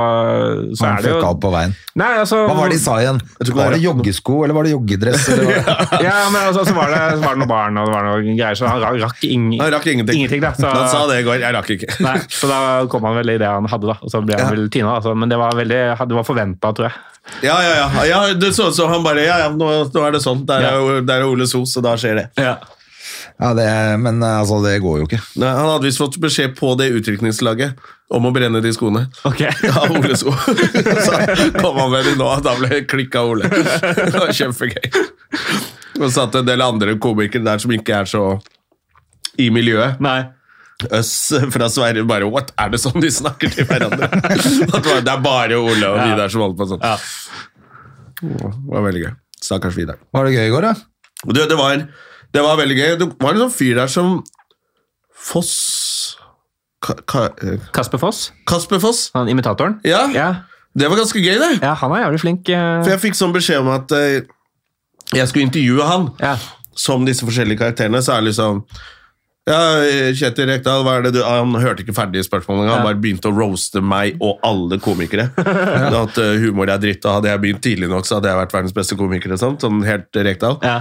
C: så
B: Han
C: er det jo
B: fucka opp på veien.
C: Nei, altså,
B: Hva var det de sa igjen?
A: tror
B: Var
A: bare-
B: det joggesko, eller var det joggedress? Eller var det?
C: Ja, men altså, så var det, så var det noen barn og det var noen greier, så han ra- rakk, ing,
A: Han rakk ingenting.
C: da, så,
A: Han sa det i går. Jeg rakk ikke.
C: Nei, så da kom han vel i det han hadde, da. Og så ble han vel tina. Altså, men det var veldig, det var forventa, tror jeg.
A: Ja, ja, ja. ja det så ut som han bare Ja, ja, nå, nå er det sånn. Der er, jo- der er Ole So, så da skjer det.
B: Ja, det, men altså, det går jo ikke.
A: Nei, han hadde visst fått beskjed på det utrykningslaget om å brenne de skoene
C: Ok.
A: av Ole So. så kom han med de nå, og da ble det klikk av Ole. det var kjempegøy. Og satt en del andre komikere der som ikke er så i miljøet.
C: Nei.
A: Øss fra Sverige bare What? Er det sånn de snakker til hverandre? At det er bare Ole og Vidar som holder på sånn.
C: Ja.
A: Det var veldig gøy. Stakkars Vidar.
B: Var det gøy i går, da?
A: Og Det, det, var, det var veldig gøy. Det var en sånn fyr der som Foss Ka, ka, eh,
C: Kasper Foss,
A: Kasper Foss.
C: han imitatoren.
A: Ja,
C: Ja,
A: det var ganske gøy, det.
C: ja han er jævlig flink. eh.
A: For jeg fikk sånn beskjed om at eh, jeg skulle intervjue han.
C: Ja.
A: som disse forskjellige karakterene, så er det liksom ja, Kjetil Rekdal, hva er det du ah, Han hørte ikke ferdig spørsmålet engang. Han bare begynte å roaste meg og alle komikere. At eh, humor er dritt, og hadde jeg begynt tidlig nok, så hadde jeg vært verdens beste komiker. og Sånt, sånn helt Rekdal.
C: Ja.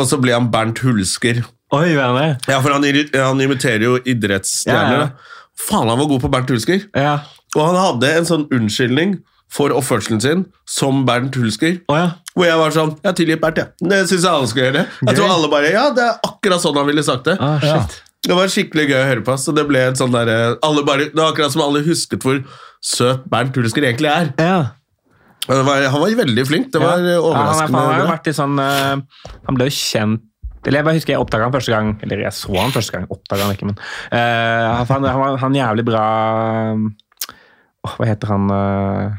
A: Og så ble han Bernt Hulsker.
C: Oi, hva er det?
A: Ja, for han, irri- han imiterer jo idrettsstjerner.
C: Ja, ja.
A: da. Faen, han var god på Bernt Hulsker.
C: Ja.
A: Og han hadde en sånn unnskyldning for oppførselen sin som Bernt Hulsker.
C: Å ja.
A: Hvor jeg var sånn Jeg har tilgitt Bernt, jeg. Det syns jeg alle skal gjøre. Jeg tror alle bare Ja, det er akkurat sånn han ville sagt det.
C: Ah, shit.
A: Det var skikkelig gøy å høre på. Så det ble et sånn derre alle bare- Det var akkurat som alle husket hvor søt Bernt Hulsker egentlig er.
C: Ja.
A: Og det var, han var veldig flink. Det var eh,
C: Ja,
A: overraskende.
C: han, er, han har jo
A: bra.
C: vært i sånn eh, Han ble jo kjent eller Jeg bare husker jeg oppdaga han første gang Eller jeg så han første gang, oppdaga han ikke, men eh, han- han, han var han jævlig bra åh, Hva heter han eh,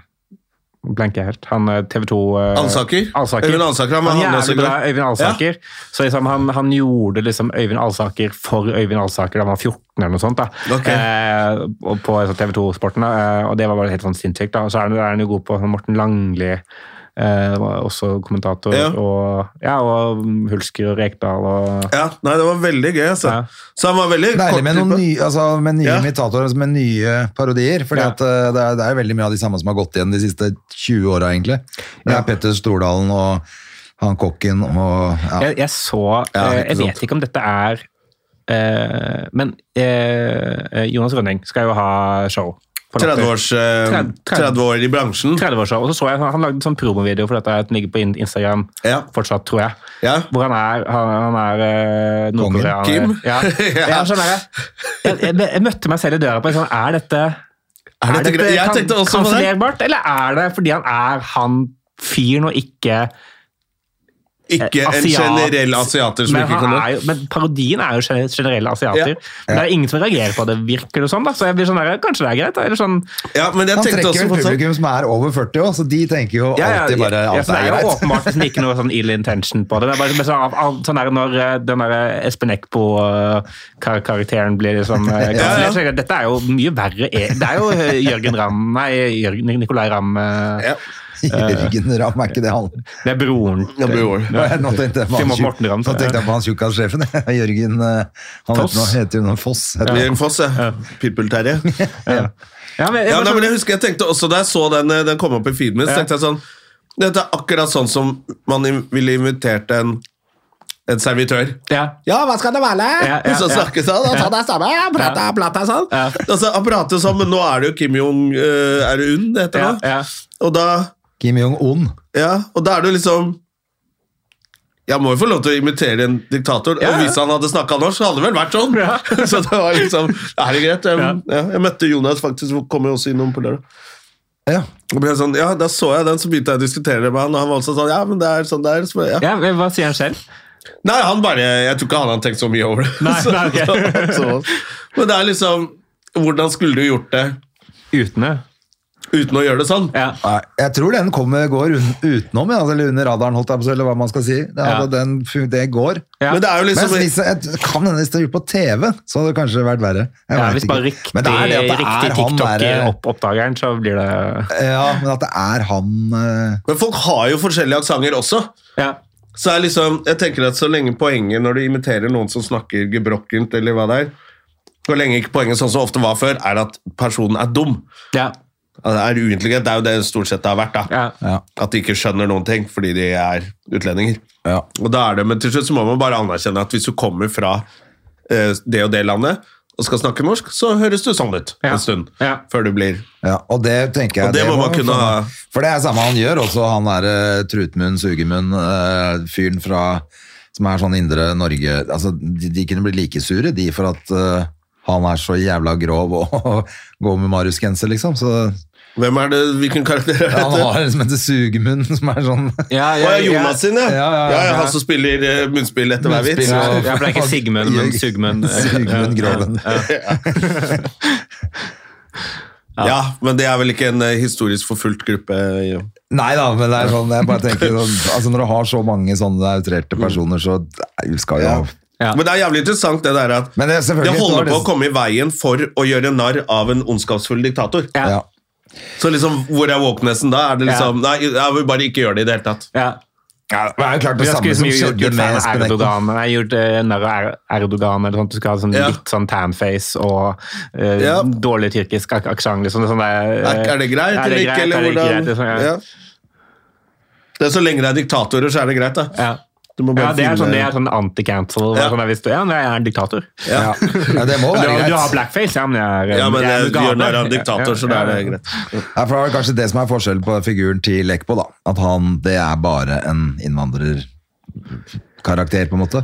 C: Blanker jeg helt. Han eh, TV 2
A: Alsaker?
C: Alsaker.
A: Øyvind Alsaker, han var
C: Han
A: han også
C: jævlig bra
A: glad.
C: Øyvind Alsaker. Så liksom han, han gjorde liksom Øyvind Alsaker for Øyvind Alsaker da han var 14 eller noe sånt. da.
A: Ok.
C: Eh, og på sånn TV 2-sporten, da, eh, og det var bare helt sånn sinnssykt. da. Og så er han- er han jo god på sånn Morten Langli, eh, var også kommentator,
A: Ja.
C: og ja, og Hulsker og Rekdal og
A: Ja, nei, det var veldig gøy. Altså.
C: Ja.
A: Så han var veldig
B: Deilig
A: kort
B: med noen
A: på-
B: nye, altså, med nye
A: Ja.
B: imitatorer, altså, med nye parodier. For
C: Ja.
B: det, er- det er jo veldig mye av de samme som har gått igjen de siste 20 åra, egentlig. Det er Petter Stordalen og han kokken og ja.
C: Jeg, jeg så
B: Ja,
C: eh,
B: ikke
C: Jeg
B: sant.
C: vet ikke om dette er eh, Men eh, Jonas Rønning skal jo ha show. på Latter.
A: 30 års, eh,
C: Tred- tred-
A: 30 år i bransjen.
C: 30 år siden, og så så jeg han lagde en sånn promovideo for dette som ligger på in- Instagram
A: Ja.
C: fortsatt, tror jeg.
A: Ja.
C: Hvor han er, han, han er eh, nordkoreaner.
A: Kim?
C: Ja.
A: Ja.
C: ja, sånn er det. Jeg, jeg, jeg møtte meg selv i døra på sånn, er dette,
A: Er dette greit? Jeg
C: kan-
A: tenkte også på det.
C: kansellerbart, eller er det fordi han er han fyren og ikke
A: Ikke
C: Eh,
A: en
C: asiat.
A: generell asiater som
C: men,
A: ikke
C: han
A: kan
C: er jo, men parodien er jo gener- generelle asiater.
A: Ja.
C: Men det er ingen som reagerer på det, virker det som. Da. Så jeg blir sånn der, kanskje det er greit? da, Eller sånn,
A: Ja, men jeg
B: Han
A: tenkte
B: trekker
A: også
B: vel
A: på sånn
B: publikum som er over 40 år, så de tenker jo
C: Ja, ja,
B: alltid bare
C: ja,
B: alt
C: så
B: er
C: Det er jo
B: greit.
C: åpenbart liksom ikke noe sånn ill intention på det. Det er bare sånn, av, av, sånn der når eh, den der Espen Eckbo-karakteren blir sånn eh,
A: Ja, ja.
C: kansellert, så tenker jeg, Dette er jo mye verre. e- Det er jo eh, Jørgen Ramm Nei, Jørgen, Nicolai Ramm eh,
A: ja.
B: Jørgen Ramm, er ikke det han
C: Det er broren.
A: Ja, bror.
B: Nei, Nå tenkte jeg på han
C: Simon
B: tjukk-
C: Morten Ramm,
B: nå tenkte jeg på han tjukkassjefen. Jørgen eh, Han
C: Foss.
B: heter noe- heter jo noe Foss. heter han.
A: Jørgen Foss, ja. Pitbull-Terje.
C: Ja, men,
A: Ja,
C: jeg,
A: nei,
C: bare
A: men jeg husker jeg tenkte også da jeg så den, eh, den kom opp i feeden min, så
C: Ja.
A: tenkte jeg sånn Dette er akkurat sånn som man im- ville invitert en, en servitør.
C: sånn- ja.
A: Ja, hva skal det være?
C: Ja, ja,
A: og så
C: ja.
A: snakkes han, og sånn er samme, ja, prate, prate, sånn.
C: Ja.
A: Altså, han prater sånn, men nå er det jo Kim Jong, eh, er det Unn det heter
C: Ja,
A: nå?
C: ja.
A: Og da,
B: Kim Jong-un.
A: ja, og da er det jo liksom, jeg må jo få lov til å imitere en diktator,
C: Ja,
A: og
C: ja.
A: hvis han hadde snakket norsk, så hadde det vel vært sånn.
C: Ja.
A: så det var liksom, er det greit? Jeg, ja. jeg møtte Jonas faktisk, hvor kommer jo også innom på lørdag.
B: Ja.
A: Og ble sånn, ja, da så jeg den, så begynte jeg å diskutere det med han, og han var også sånn, ja, men det er sånn det er. Så, bare, ja.
C: ja, men Hva sier han selv?
A: Nei, han bare, jeg tror ikke han hadde tenkt så mye over det.
C: Nei,
A: Så-
C: nei, ok.
A: så- men det er liksom Hvordan skulle du gjort det
C: Uten det.
A: uten å gjøre det sånn?
C: Ja.
B: Nei, Jeg tror den kommer, går un- utenom, ja, altså, eller under radaren, holdt jeg på, å si, eller hva man skal si. Det, er
C: Ja.
B: altså, den, fu- det går.
C: Ja.
A: Men det er jo
B: Men
A: liksom
B: hvis, jeg, kan hende hvis det er gjort på TV, så hadde det kanskje vært verre. Jeg
C: Ja,
B: vet
C: hvis
B: ikke.
C: bare riktig,
B: men det er det at det
C: riktig
B: er
C: eh,
B: han
A: eh,
B: derre-
C: TikTok-oppdageren, så blir det
B: Ja, men at det er han eh,
A: Men folk har jo forskjellige aksenter også.
C: ja.
A: Så er liksom, jeg tenker at så lenge poenget når du imiterer noen som snakker gebrokkent, eller hva det er Så lenge ikke poenget sånn som ofte var før, er at personen er dum.
C: Ja.
A: Altså, er uintelligent. Det er jo det stort sett det har vært. da.
C: Ja.
B: Ja.
A: At de ikke skjønner noen ting fordi de er utlendinger.
B: ja.
A: Og da er det, Men til slutt så må man bare anerkjenne at hvis du kommer fra eh, det og det landet og skal snakke norsk, så høres du sånn ut
C: Ja.
A: en stund.
C: Ja.
A: Før du blir
B: Ja, og det tenker jeg
A: Og det må man
B: var-
A: kunne ha-
B: For det er samme han gjør også, han der eh, Trutmunn, Sugemunn, eh, fyren fra som er sånn indre Norge altså, de, de kunne blitt like sure, de, for at eh, han er så jævla grov og, går med Marius-genser, liksom. Så
A: Hvem er det, Hvilken karakter er
B: han
A: dette?
B: har en som heter Sugemunn, som er sånn
C: Ja,
A: Å ja, Jonas sin, ja.
B: Ja, ja, ja.
A: Han som spiller eh, munnspill etter hver vits.
B: Munnspill,
C: Ja, for det er ikke Sigmund, eh, men Sugmund.
B: Sugmund Groven.
A: Ja. Men det er vel ikke en eh, historisk forfulgt gruppe? ja.
B: Nei da, men det er sånn, jeg bare tenker sånn, altså Når du har så mange sånne outrerte personer, så nei, skal jo
C: Ja.
A: Men det er jævlig interessant det der at
B: Men det er
A: det
B: selvfølgelig
A: holder
B: så er
A: på å komme i veien for å gjøre narr av en ondskapsfull diktator.
C: Ja.
B: ja.
A: Så liksom, hvor er wokenessen da? Er det
C: Ja.
A: liksom, Nei, jeg vil bare ikke gjøre det i det hele tatt.
C: Ja.
B: Ja, det er jo klart
C: Vi
B: det
C: har
B: samme
C: skrevet
B: som
C: mye gjort,
B: skjedde
C: gjort
B: med
C: fan av
B: Espen Eckbo.
C: Erdogan. Jeg har gjort eh, narr av Er- Erdogan eller sånt. Du skal ha sånn
A: Ja.
C: litt sånn tanface og eh,
A: Ja.
C: dårlig tyrkisk ak- aksent. Liksom, sånn der, eh,
A: Er, er det greit,
C: er
A: eller ikke?
C: det greit, er det
A: Eller
C: ikke
A: hvordan?
C: greit, liksom, ja.
A: Ja. Det er Så lenge det er diktatorer, så er det greit, da.
C: Ja.
A: Du må
C: Ja,
A: bare
C: det er sånn, det
A: finne-
C: er sånn anti-cancel.
A: Ja.
C: Ja. Sånn, der, hvis du, ja, men jeg er en diktator.
B: Ja. ja, det må
C: Du,
B: være
C: har- du har
B: greit.
C: blackface, ja, men jeg er
A: Ja, men
C: jeg er
A: jeg, du gjør
C: Mugabe.
A: narr av
C: Ja, ja,
A: diktator, så da er det
C: ja.
A: greit.
B: Ja, for det er vel kanskje det som er forskjellen på figuren til Eckbo, da. At han, det er bare en innvandrerkarakter, på en måte.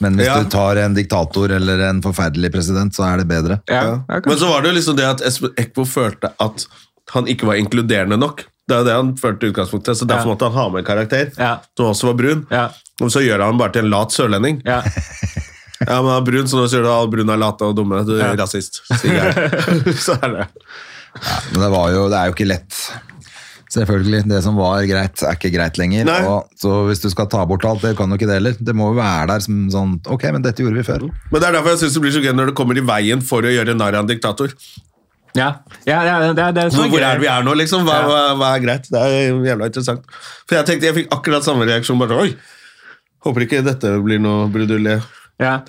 B: Men hvis
A: Ja.
B: du tar en diktator eller en forferdelig president, så er det bedre.
C: Ja, ja,
A: Men så var det jo liksom det at Espen Eckbo følte at han ikke var inkluderende nok. Det er jo det han følte i utgangspunktet, så derfor
C: Ja.
A: måtte han ha med en karakter
C: Ja.
A: som også var brun.
C: Ja.
A: Og så gjør han bare til en lat sørlending.
C: ja.
A: Ja, men han er brun, så nå sier du at brun er late og dumme. Du er rasist. sier jeg. så er det.
B: Men det, var jo, det er jo ikke lett. Selvfølgelig, det som var greit, er ikke greit lenger.
A: Nei.
B: Og, så hvis du skal ta bort alt, det kan jo ikke det heller. Det må jo være der som sånn Ok, men dette gjorde vi før.
A: Men det er derfor jeg syns det blir så gøy når det kommer i veien for å gjøre narr av en diktator.
C: ja. ja, ja det, det, det er
A: Hvor,
C: sånn
A: hvor er det vi er nå, liksom? Hva,
C: Ja.
A: hva, hva er greit? Det er jævla interessant. For jeg tenkte, jeg fikk akkurat samme reaksjon. Bare, Oi! Håper ikke dette blir noe brudulje.
C: Ja.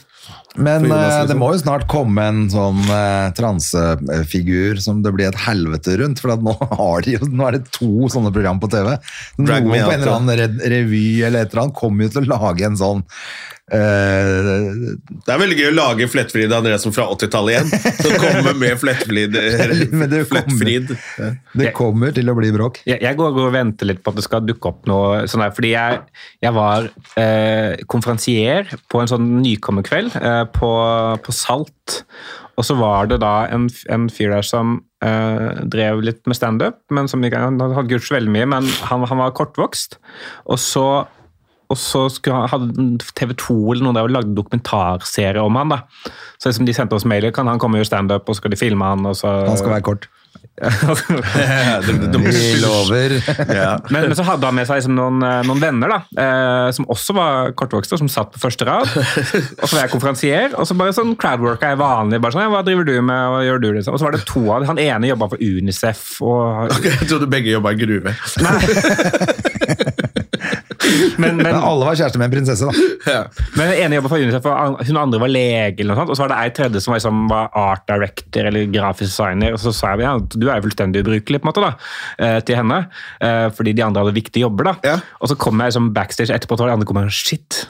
B: Men
A: For Jonas,
B: eh, det
A: liksom.
B: må jo snart komme en sånn eh, transefigur som det blir et helvete rundt. For at nå, har de, jo- nå er det to sånne program på TV.
A: Drag
B: Noen på
A: Me Out,
B: en eller annen red- revy eller et eller annet kommer jo til å lage en sånn eh,
A: Det er veldig gøy å lage Flettfrid Andresen fra 80-tallet igjen. Som kommer med Flettfrid. eh,
B: Men det kommer.
A: Flettfrid.
B: Det kommer til å bli bråk.
C: Jeg, jeg går og venter litt på at det skal dukke opp noe sånn der, fordi jeg, jeg var eh, konferansier på en sånn nykommerkveld eh, på, på Salt. Og så var det da en, f- en fyr der som eh, drev litt med standup, men som ikke, han hadde ikke gjort så veldig mye, men han, han var kortvokst. Og så, og så skulle han, hadde TV 2 eller noen der lagde dokumentarserie om han da. Så liksom de sendte oss mailer, kan han komme og gjøre standup, og så skal de filme han, og så...
B: Han skal være kort. Vi
A: Ja,
B: lover.
C: Men, men så hadde han med seg liksom noen, eh, noen venner da, eh, som også var kortvokste, som satt på første rad. Og så var jeg konferansier, og så bare sånn crowdworka er vanlig. bare sånn, ja, hva driver du med, hva gjør du liksom? Og så var det to av dem. Han ene jobba for Unicef. og...
A: Jeg trodde begge jobba i gruve.
C: Men, men,
B: Men alle var kjæreste med en prinsesse, da.
C: men den ene jobba for Unicef, og an- hun andre var lege, eller noe sånt, og så var det ei tredje som var, liksom, var art director eller grafisk designer. Og så sa jeg ja, du er jo fullstendig ubrukelig på en måte da, eh, til henne, eh, fordi de andre hadde viktige jobber. da.
A: Ja.
C: Og så kom jeg liksom, backstage etterpå, og de andre kom og shit.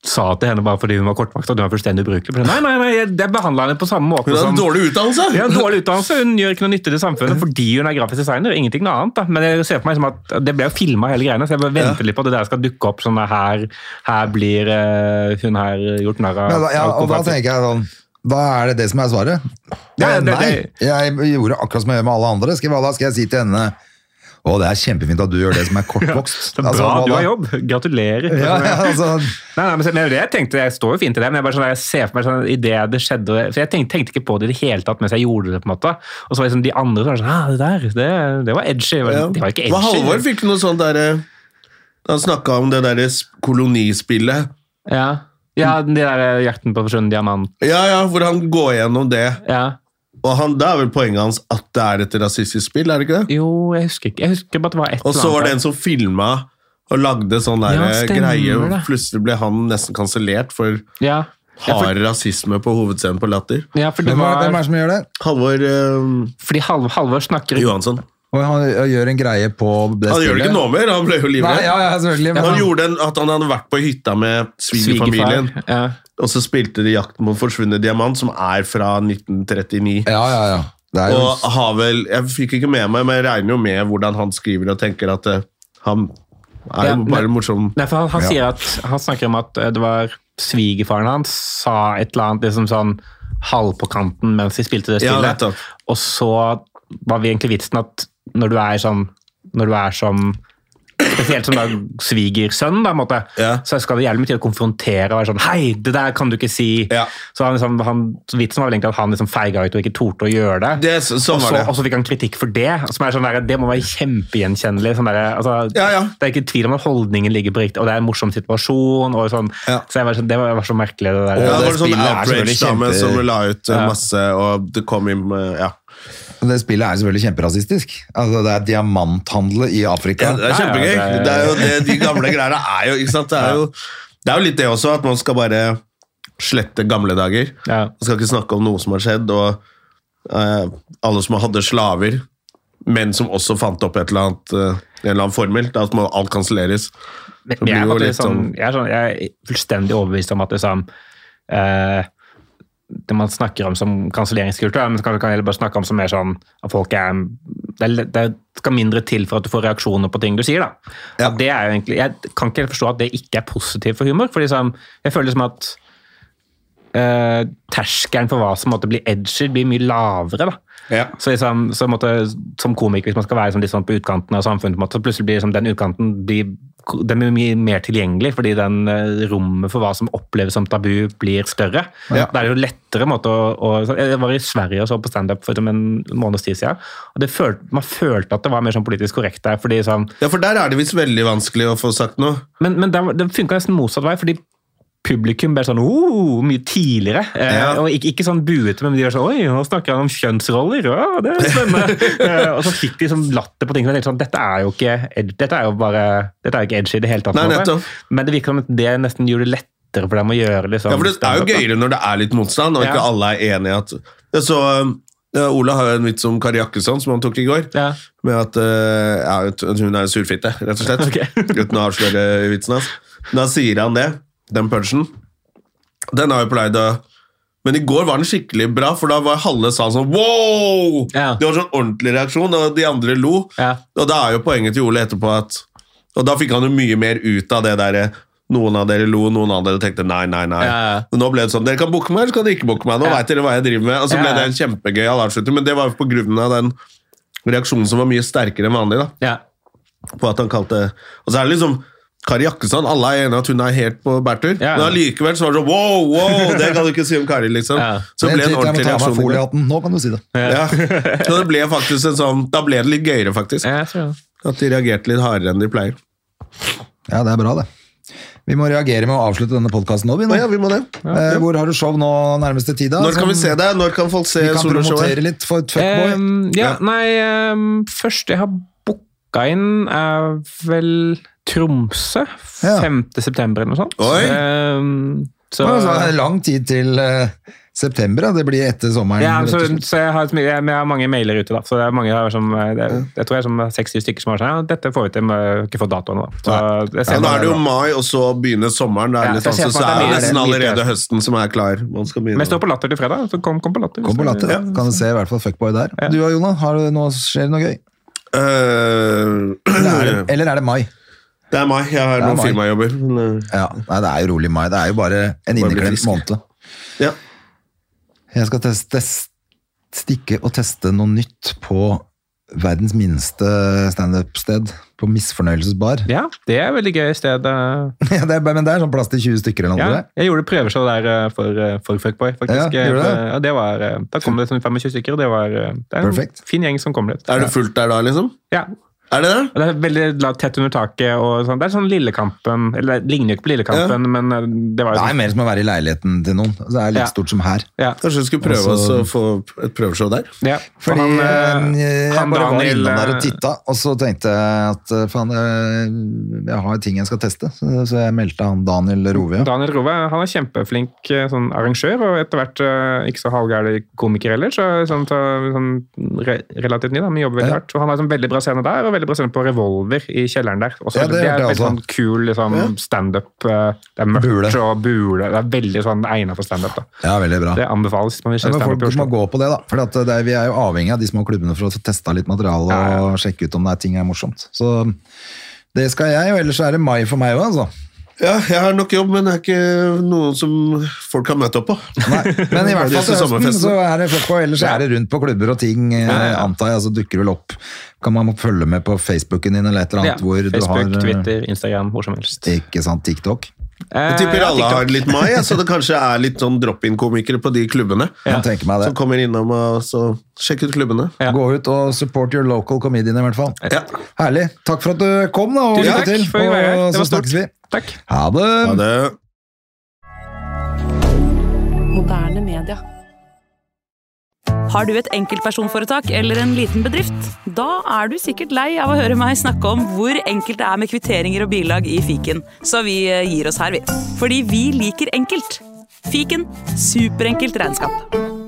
C: Sa til henne bare fordi hun var kortvakt at hun var fullstendig ubrukelig. For Nei, nei, nei, jeg, jeg behandla henne på samme måte
A: Hun hadde
B: Sånn.
C: som
A: dårlig utdannelse!
C: hun har dårlig utdannelse, hun gjør ikke noe nytte til samfunnet fordi hun er grafisk designer. ingenting noe annet da. Men jeg ser for meg som at det ble jo filma hele greiene, så jeg bare venter litt på at det der skal dukke opp. sånn at her, her blir eh, hun her gjort narr av.
B: Men da ja, og da tenker jeg sånn da er det det som er svaret.
C: Ja, det-
B: Nei,
C: det-
B: jeg gjorde akkurat som jeg gjør med alle andre. Skal, hva da skal jeg si til henne Å, det er kjempefint at du gjør det som er kortvokst.
C: Så bra,
B: Altså, hva
C: du har
B: da?
C: jobb. Gratulerer.
B: Ja, ja, altså,
C: Nei, nei, men se- men det var det jeg tenkte, jeg står jo fint i det, men jeg bare sånn, jeg ser for meg sånn, i det det skjedde, for jeg tenkte, tenkte ikke på det i det hele tatt mens jeg gjorde det, på en måte. Og så var liksom de andre som var sånn, ah, det der, det, det var edgy. Jeg bare,
A: Ja.
C: Det var ikke edgy.
A: Hva Halvor fikk noe sånt derre Han snakka om det derre s- kolonispillet.
C: Ja, ja den der eh, jakten på forsvunnen diamant.
A: Ja, ja, hvor han går gjennom det.
C: Ja.
A: Og han, Da er vel poenget hans at det er et rasistisk spill, er det ikke det?
C: Jo, jeg husker ikke. Jeg husker bare at det var et
A: Og så var det en som filma og lagde sånn der
C: Ja, stemmer
A: greie, og
C: det.
A: plutselig ble han nesten kansellert for
C: Ja, ja,
A: hard
C: for,
A: rasisme på hovedscenen på Latter.
C: ja for det
B: Hvem er,
C: var,
B: hvem er det som gjør det?
A: Halvor eh,
C: fordi Hal- Halvor snakker
A: Johansson.
B: Og han gjør en greie på det
A: Han gjør det ikke nå mer, han ble jo
B: Nei,
A: livredd.
B: ja, ja, selvfølgelig. Men
A: Han
B: han,
A: gjorde en, at han hadde vært på hytta med svigerfamilien,
C: svigerfar. Ja.
A: og så spilte de 'Jakten på forsvunnet diamant', som er fra 1939.
B: ja, ja, ja. Det er jo,
A: Og har vel Jeg fikk ikke med meg, men jeg regner jo med hvordan han skriver og tenker at eh, han er
C: Ja,
A: jo bare
C: men-
A: morsom.
C: Nei, for han, han,
B: Ja.
C: sier at, han snakker om at eh, det var svigerfaren hans sa et eller annet liksom sånn halv på kanten mens de spilte det
A: Ja,
C: spillet.
A: nettopp.
C: og så var vi egentlig vitsen at når du er sånn når du er som Spesielt som da svigersønn, da, på en måte.
A: Ja.
C: så skal det jævlig mye til å konfrontere og være sånn Hei, det der kan du ikke si!
A: Ja.
C: Så han, liksom, han, vitsen var vel egentlig at han liksom feiga ut og ikke torde å gjøre det.
A: Det, så- sånn
C: og,
A: var
C: så,
A: det.
C: og så fikk han kritikk for det. Som er sånn der, det må være kjempegjenkjennelig. Sånn der, altså,
A: Ja, ja.
C: Det er ikke tvil om at holdningen ligger på riktig, og det er en morsom situasjon. Og sånn.
A: Ja.
C: Så jeg var, sånn- Det var, var så merkelig, det
A: Ja,
C: der.
B: det
A: det var en sånn
B: spillet er selvfølgelig
A: outrage-dame
B: kjempe-
A: som la ut eh, masse, og det kom inn eh, Ja.
B: Det spillet er selvfølgelig kjemperasistisk. Altså, det er diamanthandel i Afrika.
A: Ja, det er kjempegøy.
C: Ja, ja, det-
A: Det er jo det de gamle greiene er jo, ikke sant? Det er jo, det er jo litt det også, at man skal bare slette gamle dager.
C: Ja.
A: Man skal ikke snakke om noe som har skjedd, og eh, alle som hadde slaver, men som også fant opp et eller annet, eh, en eller annen formel, da, at man, alt kanselleres.
C: Men
A: Det blir
C: jeg, er
A: jo
C: faktisk
A: litt
C: sånn,
A: sånn-
C: jeg, er sånn, jeg er fullstendig overbevist om at det, sånn, eh, det man snakker om som kanselleringskultur, men kanskje kan heller bare snakke om som mer sånn at folk er det, er- det skal mindre til for at du får reaksjoner på ting du sier. da.
B: Ja.
C: At Det er jo egentlig, jeg kan ikke helt forstå at det ikke er positivt for humor. fordi sånn, Jeg føler som at eh, terskelen for hva som måtte bli edgy, blir mye lavere. da.
A: Ja.
C: Så, liksom, så måtte, som komiker, hvis man skal være liksom litt sånn på utkanten av samfunnet, på en måte, så plutselig blir liksom den utkanten blir, den blir mye mer tilgjengelig, fordi den eh, rommet for hva som oppleves som tabu, blir større.
B: Ja.
C: Da er det jo lettere måte å, å så Jeg var i Sverige og så på standup for som en måneds tid siden. Og det følte, man følte at det var mer sånn politisk korrekt der. fordi sånn,
A: ja, for der er det visst veldig vanskelig å få sagt noe.
C: men, men det, det funka nesten motsatt vei, fordi publikum ble sånn oh, mye tidligere. Eh,
A: Ja.
C: og ikke, ikke sånn buete, men de var sånn Oi, nå snakker han om kjønnsroller! Ja, det er spennende! eh, og så fikk de sånn latter på ting. som jeg tenkte Sånn, dette er jo ikke ed- dette er jo bare, dette er jo ikke edgy i det hele tatt. på
A: Nei,
C: en måte.
A: nettopp.
C: Men det virker som at det nesten gjorde det lettere for dem å gjøre liksom,
A: Ja, for det er jo
C: standup, da.
A: gøyere når det er litt motstand, og ikke
C: Ja.
A: alle er enige at Jeg så ja, Ola har jo en vits om Kari Jakkesson, som han tok i går.
C: Ja.
A: Med at eh, ja, at hun er en surfitte, rett og slett.
C: Ok.
A: Uten å avsløre vitsen hans. Da sier han det, den punchen. Den har jo pleid å Men i går var den skikkelig bra, for da var halve salen sånn wow!
C: Ja.
A: Det var sånn ordentlig reaksjon, og de andre lo.
C: Ja.
A: Og da er jo poenget til Ole etterpå at Og da fikk han jo mye mer ut av det derre noen av dere lo, noen av dere tenkte nei, nei, nei.
C: Ja, ja.
A: Men nå ble det sånn, dere kan booke meg, eller så kan dere ikke booke meg. Nå
C: Ja.
A: vet dere hva jeg driver med. Og så
C: Ja,
A: ble
C: ja.
A: det en kjempegøyal avslutning, men det var jo på grunn av den reaksjonen som var mye sterkere enn vanlig, da,
C: Ja.
A: på at han kalte Og så er det liksom Kari Jakkesson, alle er enige at hun er helt på bærtur,
C: Ja.
A: men allikevel så var det sånn wow, wow, det kan du ikke si om Kari, liksom.
C: Ja.
A: Så det ble en
B: Jeg må ta av
A: ordentlig
B: meg
A: reaksjon.
B: foliehatten. Nå kan du si det.
A: Ja. Så det ble faktisk en sånn Da ble det litt gøyere, faktisk.
C: Ja, jeg tror det.
A: At de reagerte litt hardere enn de pleier.
B: Ja, det er bra, det. Vi må reagere med å avslutte denne podkasten nå. Vi, nå.
A: Å ja, vi må det.
B: Eh, Hvor har du show nå nærmeste tid? da?
A: Når kan vi
B: Som-
A: se deg? Når kan folk se
B: sånn- Vi kan
A: soloshowet?
B: promotere litt for Fuckboy.
C: Ehm, ja, nei um, Først jeg har booka inn, er vel Tromså.
B: Ja.
C: 5. september eller noe sånt.
A: Oi.
C: Ehm, så,
B: Ja, altså, det er lang tid til eh, september, da. det blir etter sommeren.
C: ja,
B: rett
C: så,
B: og slett.
C: så jeg, har, et mye- jeg, men jeg har mange mailer ute, da. Så det er mange her som, eh, det, er- jeg tror jeg er som 60 stykker som har sånn ja, Dette får vi til, men jeg har ikke fått datoen. Da. Så jeg
A: Ja,
C: ser
A: da
C: bare-
A: er det jo mai, og så begynner sommeren. Da er
C: Ja,
A: det litt
C: jeg ser
A: sånn, så
C: for
A: er
C: meg at det
A: det
C: blir
A: nesten
C: en liten-
A: allerede høsten som er klar. Man skal begynne.
C: men jeg står på Latter til fredag, så kom, kom på Latter.
B: Kom på latter, da. kan du se i hvert fall Fuckboy der. Du og Jonas, har du noe, skjer det noe gøy?
A: Eh,
B: Eller er det,
A: Øh,
B: eller er det mai?
A: det er mai. Jeg har
B: er
A: noen
B: mai.
A: firmajobber. men, øh,
B: Ja, nei, det er jo rolig mai. Det er jo bare en
A: bli
B: inneklemt
A: frisk.
B: måned.
A: Ja.
B: Jeg skal teste, stikke og teste noe nytt på verdens minste standup-sted, på Misfornøyelsesbar.
C: Ja, det er et veldig gøy sted. eh.
B: Ja, det er, men det er sånn plass til 20 stykker eller noe.
C: Ja,
B: tror jeg.
C: jeg gjorde prøveshow der eh, for, eh, for Fuckboy, faktisk.
B: Ja,
C: Eh,
B: gjorde du det?
C: for- Ja, det var, eh, da kom det sånn 25 stykker, og det var eh, det er en
B: Perfekt.
C: fin gjeng som kom dit.
A: Er det fullt der da, liksom?
C: Ja.
A: Er det det?
C: Og Det er veldig la- tett under taket. og sånn. Det er sånn Lillekampen Eller det ligner jo ikke på Lillekampen, men eh, det var
B: Det
C: jo
B: er
C: sånn.
B: mer som å være i leiligheten til noen. Altså, Det er like
C: Ja.
B: stort som her.
C: Ja.
A: Kanskje vi skulle prøve oss å få et prøveshow der?
C: Ja. For
B: Fordi
C: han,
B: eh,
C: eh,
B: jeg
C: han
B: bare var
C: Daniel,
B: innom der
C: eh,
B: og titta, og så tenkte jeg at eh, faen, eh, jeg har ting jeg skal teste. Så så jeg meldte han Daniel Rove. Ja.
C: Daniel Rove han er kjempeflink eh, sånn, arrangør, og etter hvert eh, ikke så halvgæren komiker heller. Så, sånn, så, sånn, re relativt ny, da, men jobber veldig
B: Ja.
C: hardt. Og han har sånn, veldig bra scene der, og veldig bra scene på Revolver i kjelleren der. Også,
B: Ja, det
C: det,
B: hørte
C: er
B: jeg
C: veldig sånn kul liksom, standup. eh, Det er mørkt
B: Bule.
C: og bule. Det er veldig sånn egna for standup. da.
B: ja, veldig bra.
C: Det anbefales hvis man vil
B: Ja,
C: se
B: men
C: standup
B: folk
C: i
B: må
C: Oslo.
B: gå på det, da. For at eh, det er, vi er jo avhengig av de små klubbene for å få testa litt materiale og sjekke ut om det er ting er morsomt. Så det skal jeg, og ellers er det mai for meg òg, altså.
A: Ja, jeg har nok jobb, men det er ikke noe som folk kan møte opp på.
B: Nei, men i hvert fall
A: Disse
B: til høsten
A: sommerfestene.
B: så er det flokk, og ellers er det rundt på klubber og ting, eh, antar jeg. Så dukker det vel opp. Kan man følge med på Facebooken din eller et eller
C: Ja.
B: annet hvor
C: Facebook,
B: du har eh,
C: Twitter, Instagram, hvor som helst.
B: Ikke sant, TikTok?
C: Eh,
A: Jeg tipper
C: ja,
A: alle
C: TikTok.
A: har litt mai, ja, så det kanskje er litt sånn drop-in-komikere på de klubbene.
B: Kan tenke meg
A: Som
B: det.
A: kommer innom og så Sjekk ut klubbene.
C: Ja.
B: Gå ut og support your local comedian, i hvert fall.
A: Ja.
B: Herlig. Takk for at du kom, da, og
C: Tusen
B: lykke
C: takk
B: til.
C: for at jeg var her.
B: Og
C: Det
B: så
C: var stort.
B: snakkes vi.
C: Takk.
B: Ha det!
A: Ha det.
D: Moderne media.
E: Har du et enkeltpersonforetak eller en liten bedrift? Da er du sikkert lei av å høre meg snakke om hvor enkelt det er med kvitteringer og bilag i fiken, så vi eh, gir oss her, vi. Fordi vi liker enkelt. Fiken superenkelt regnskap.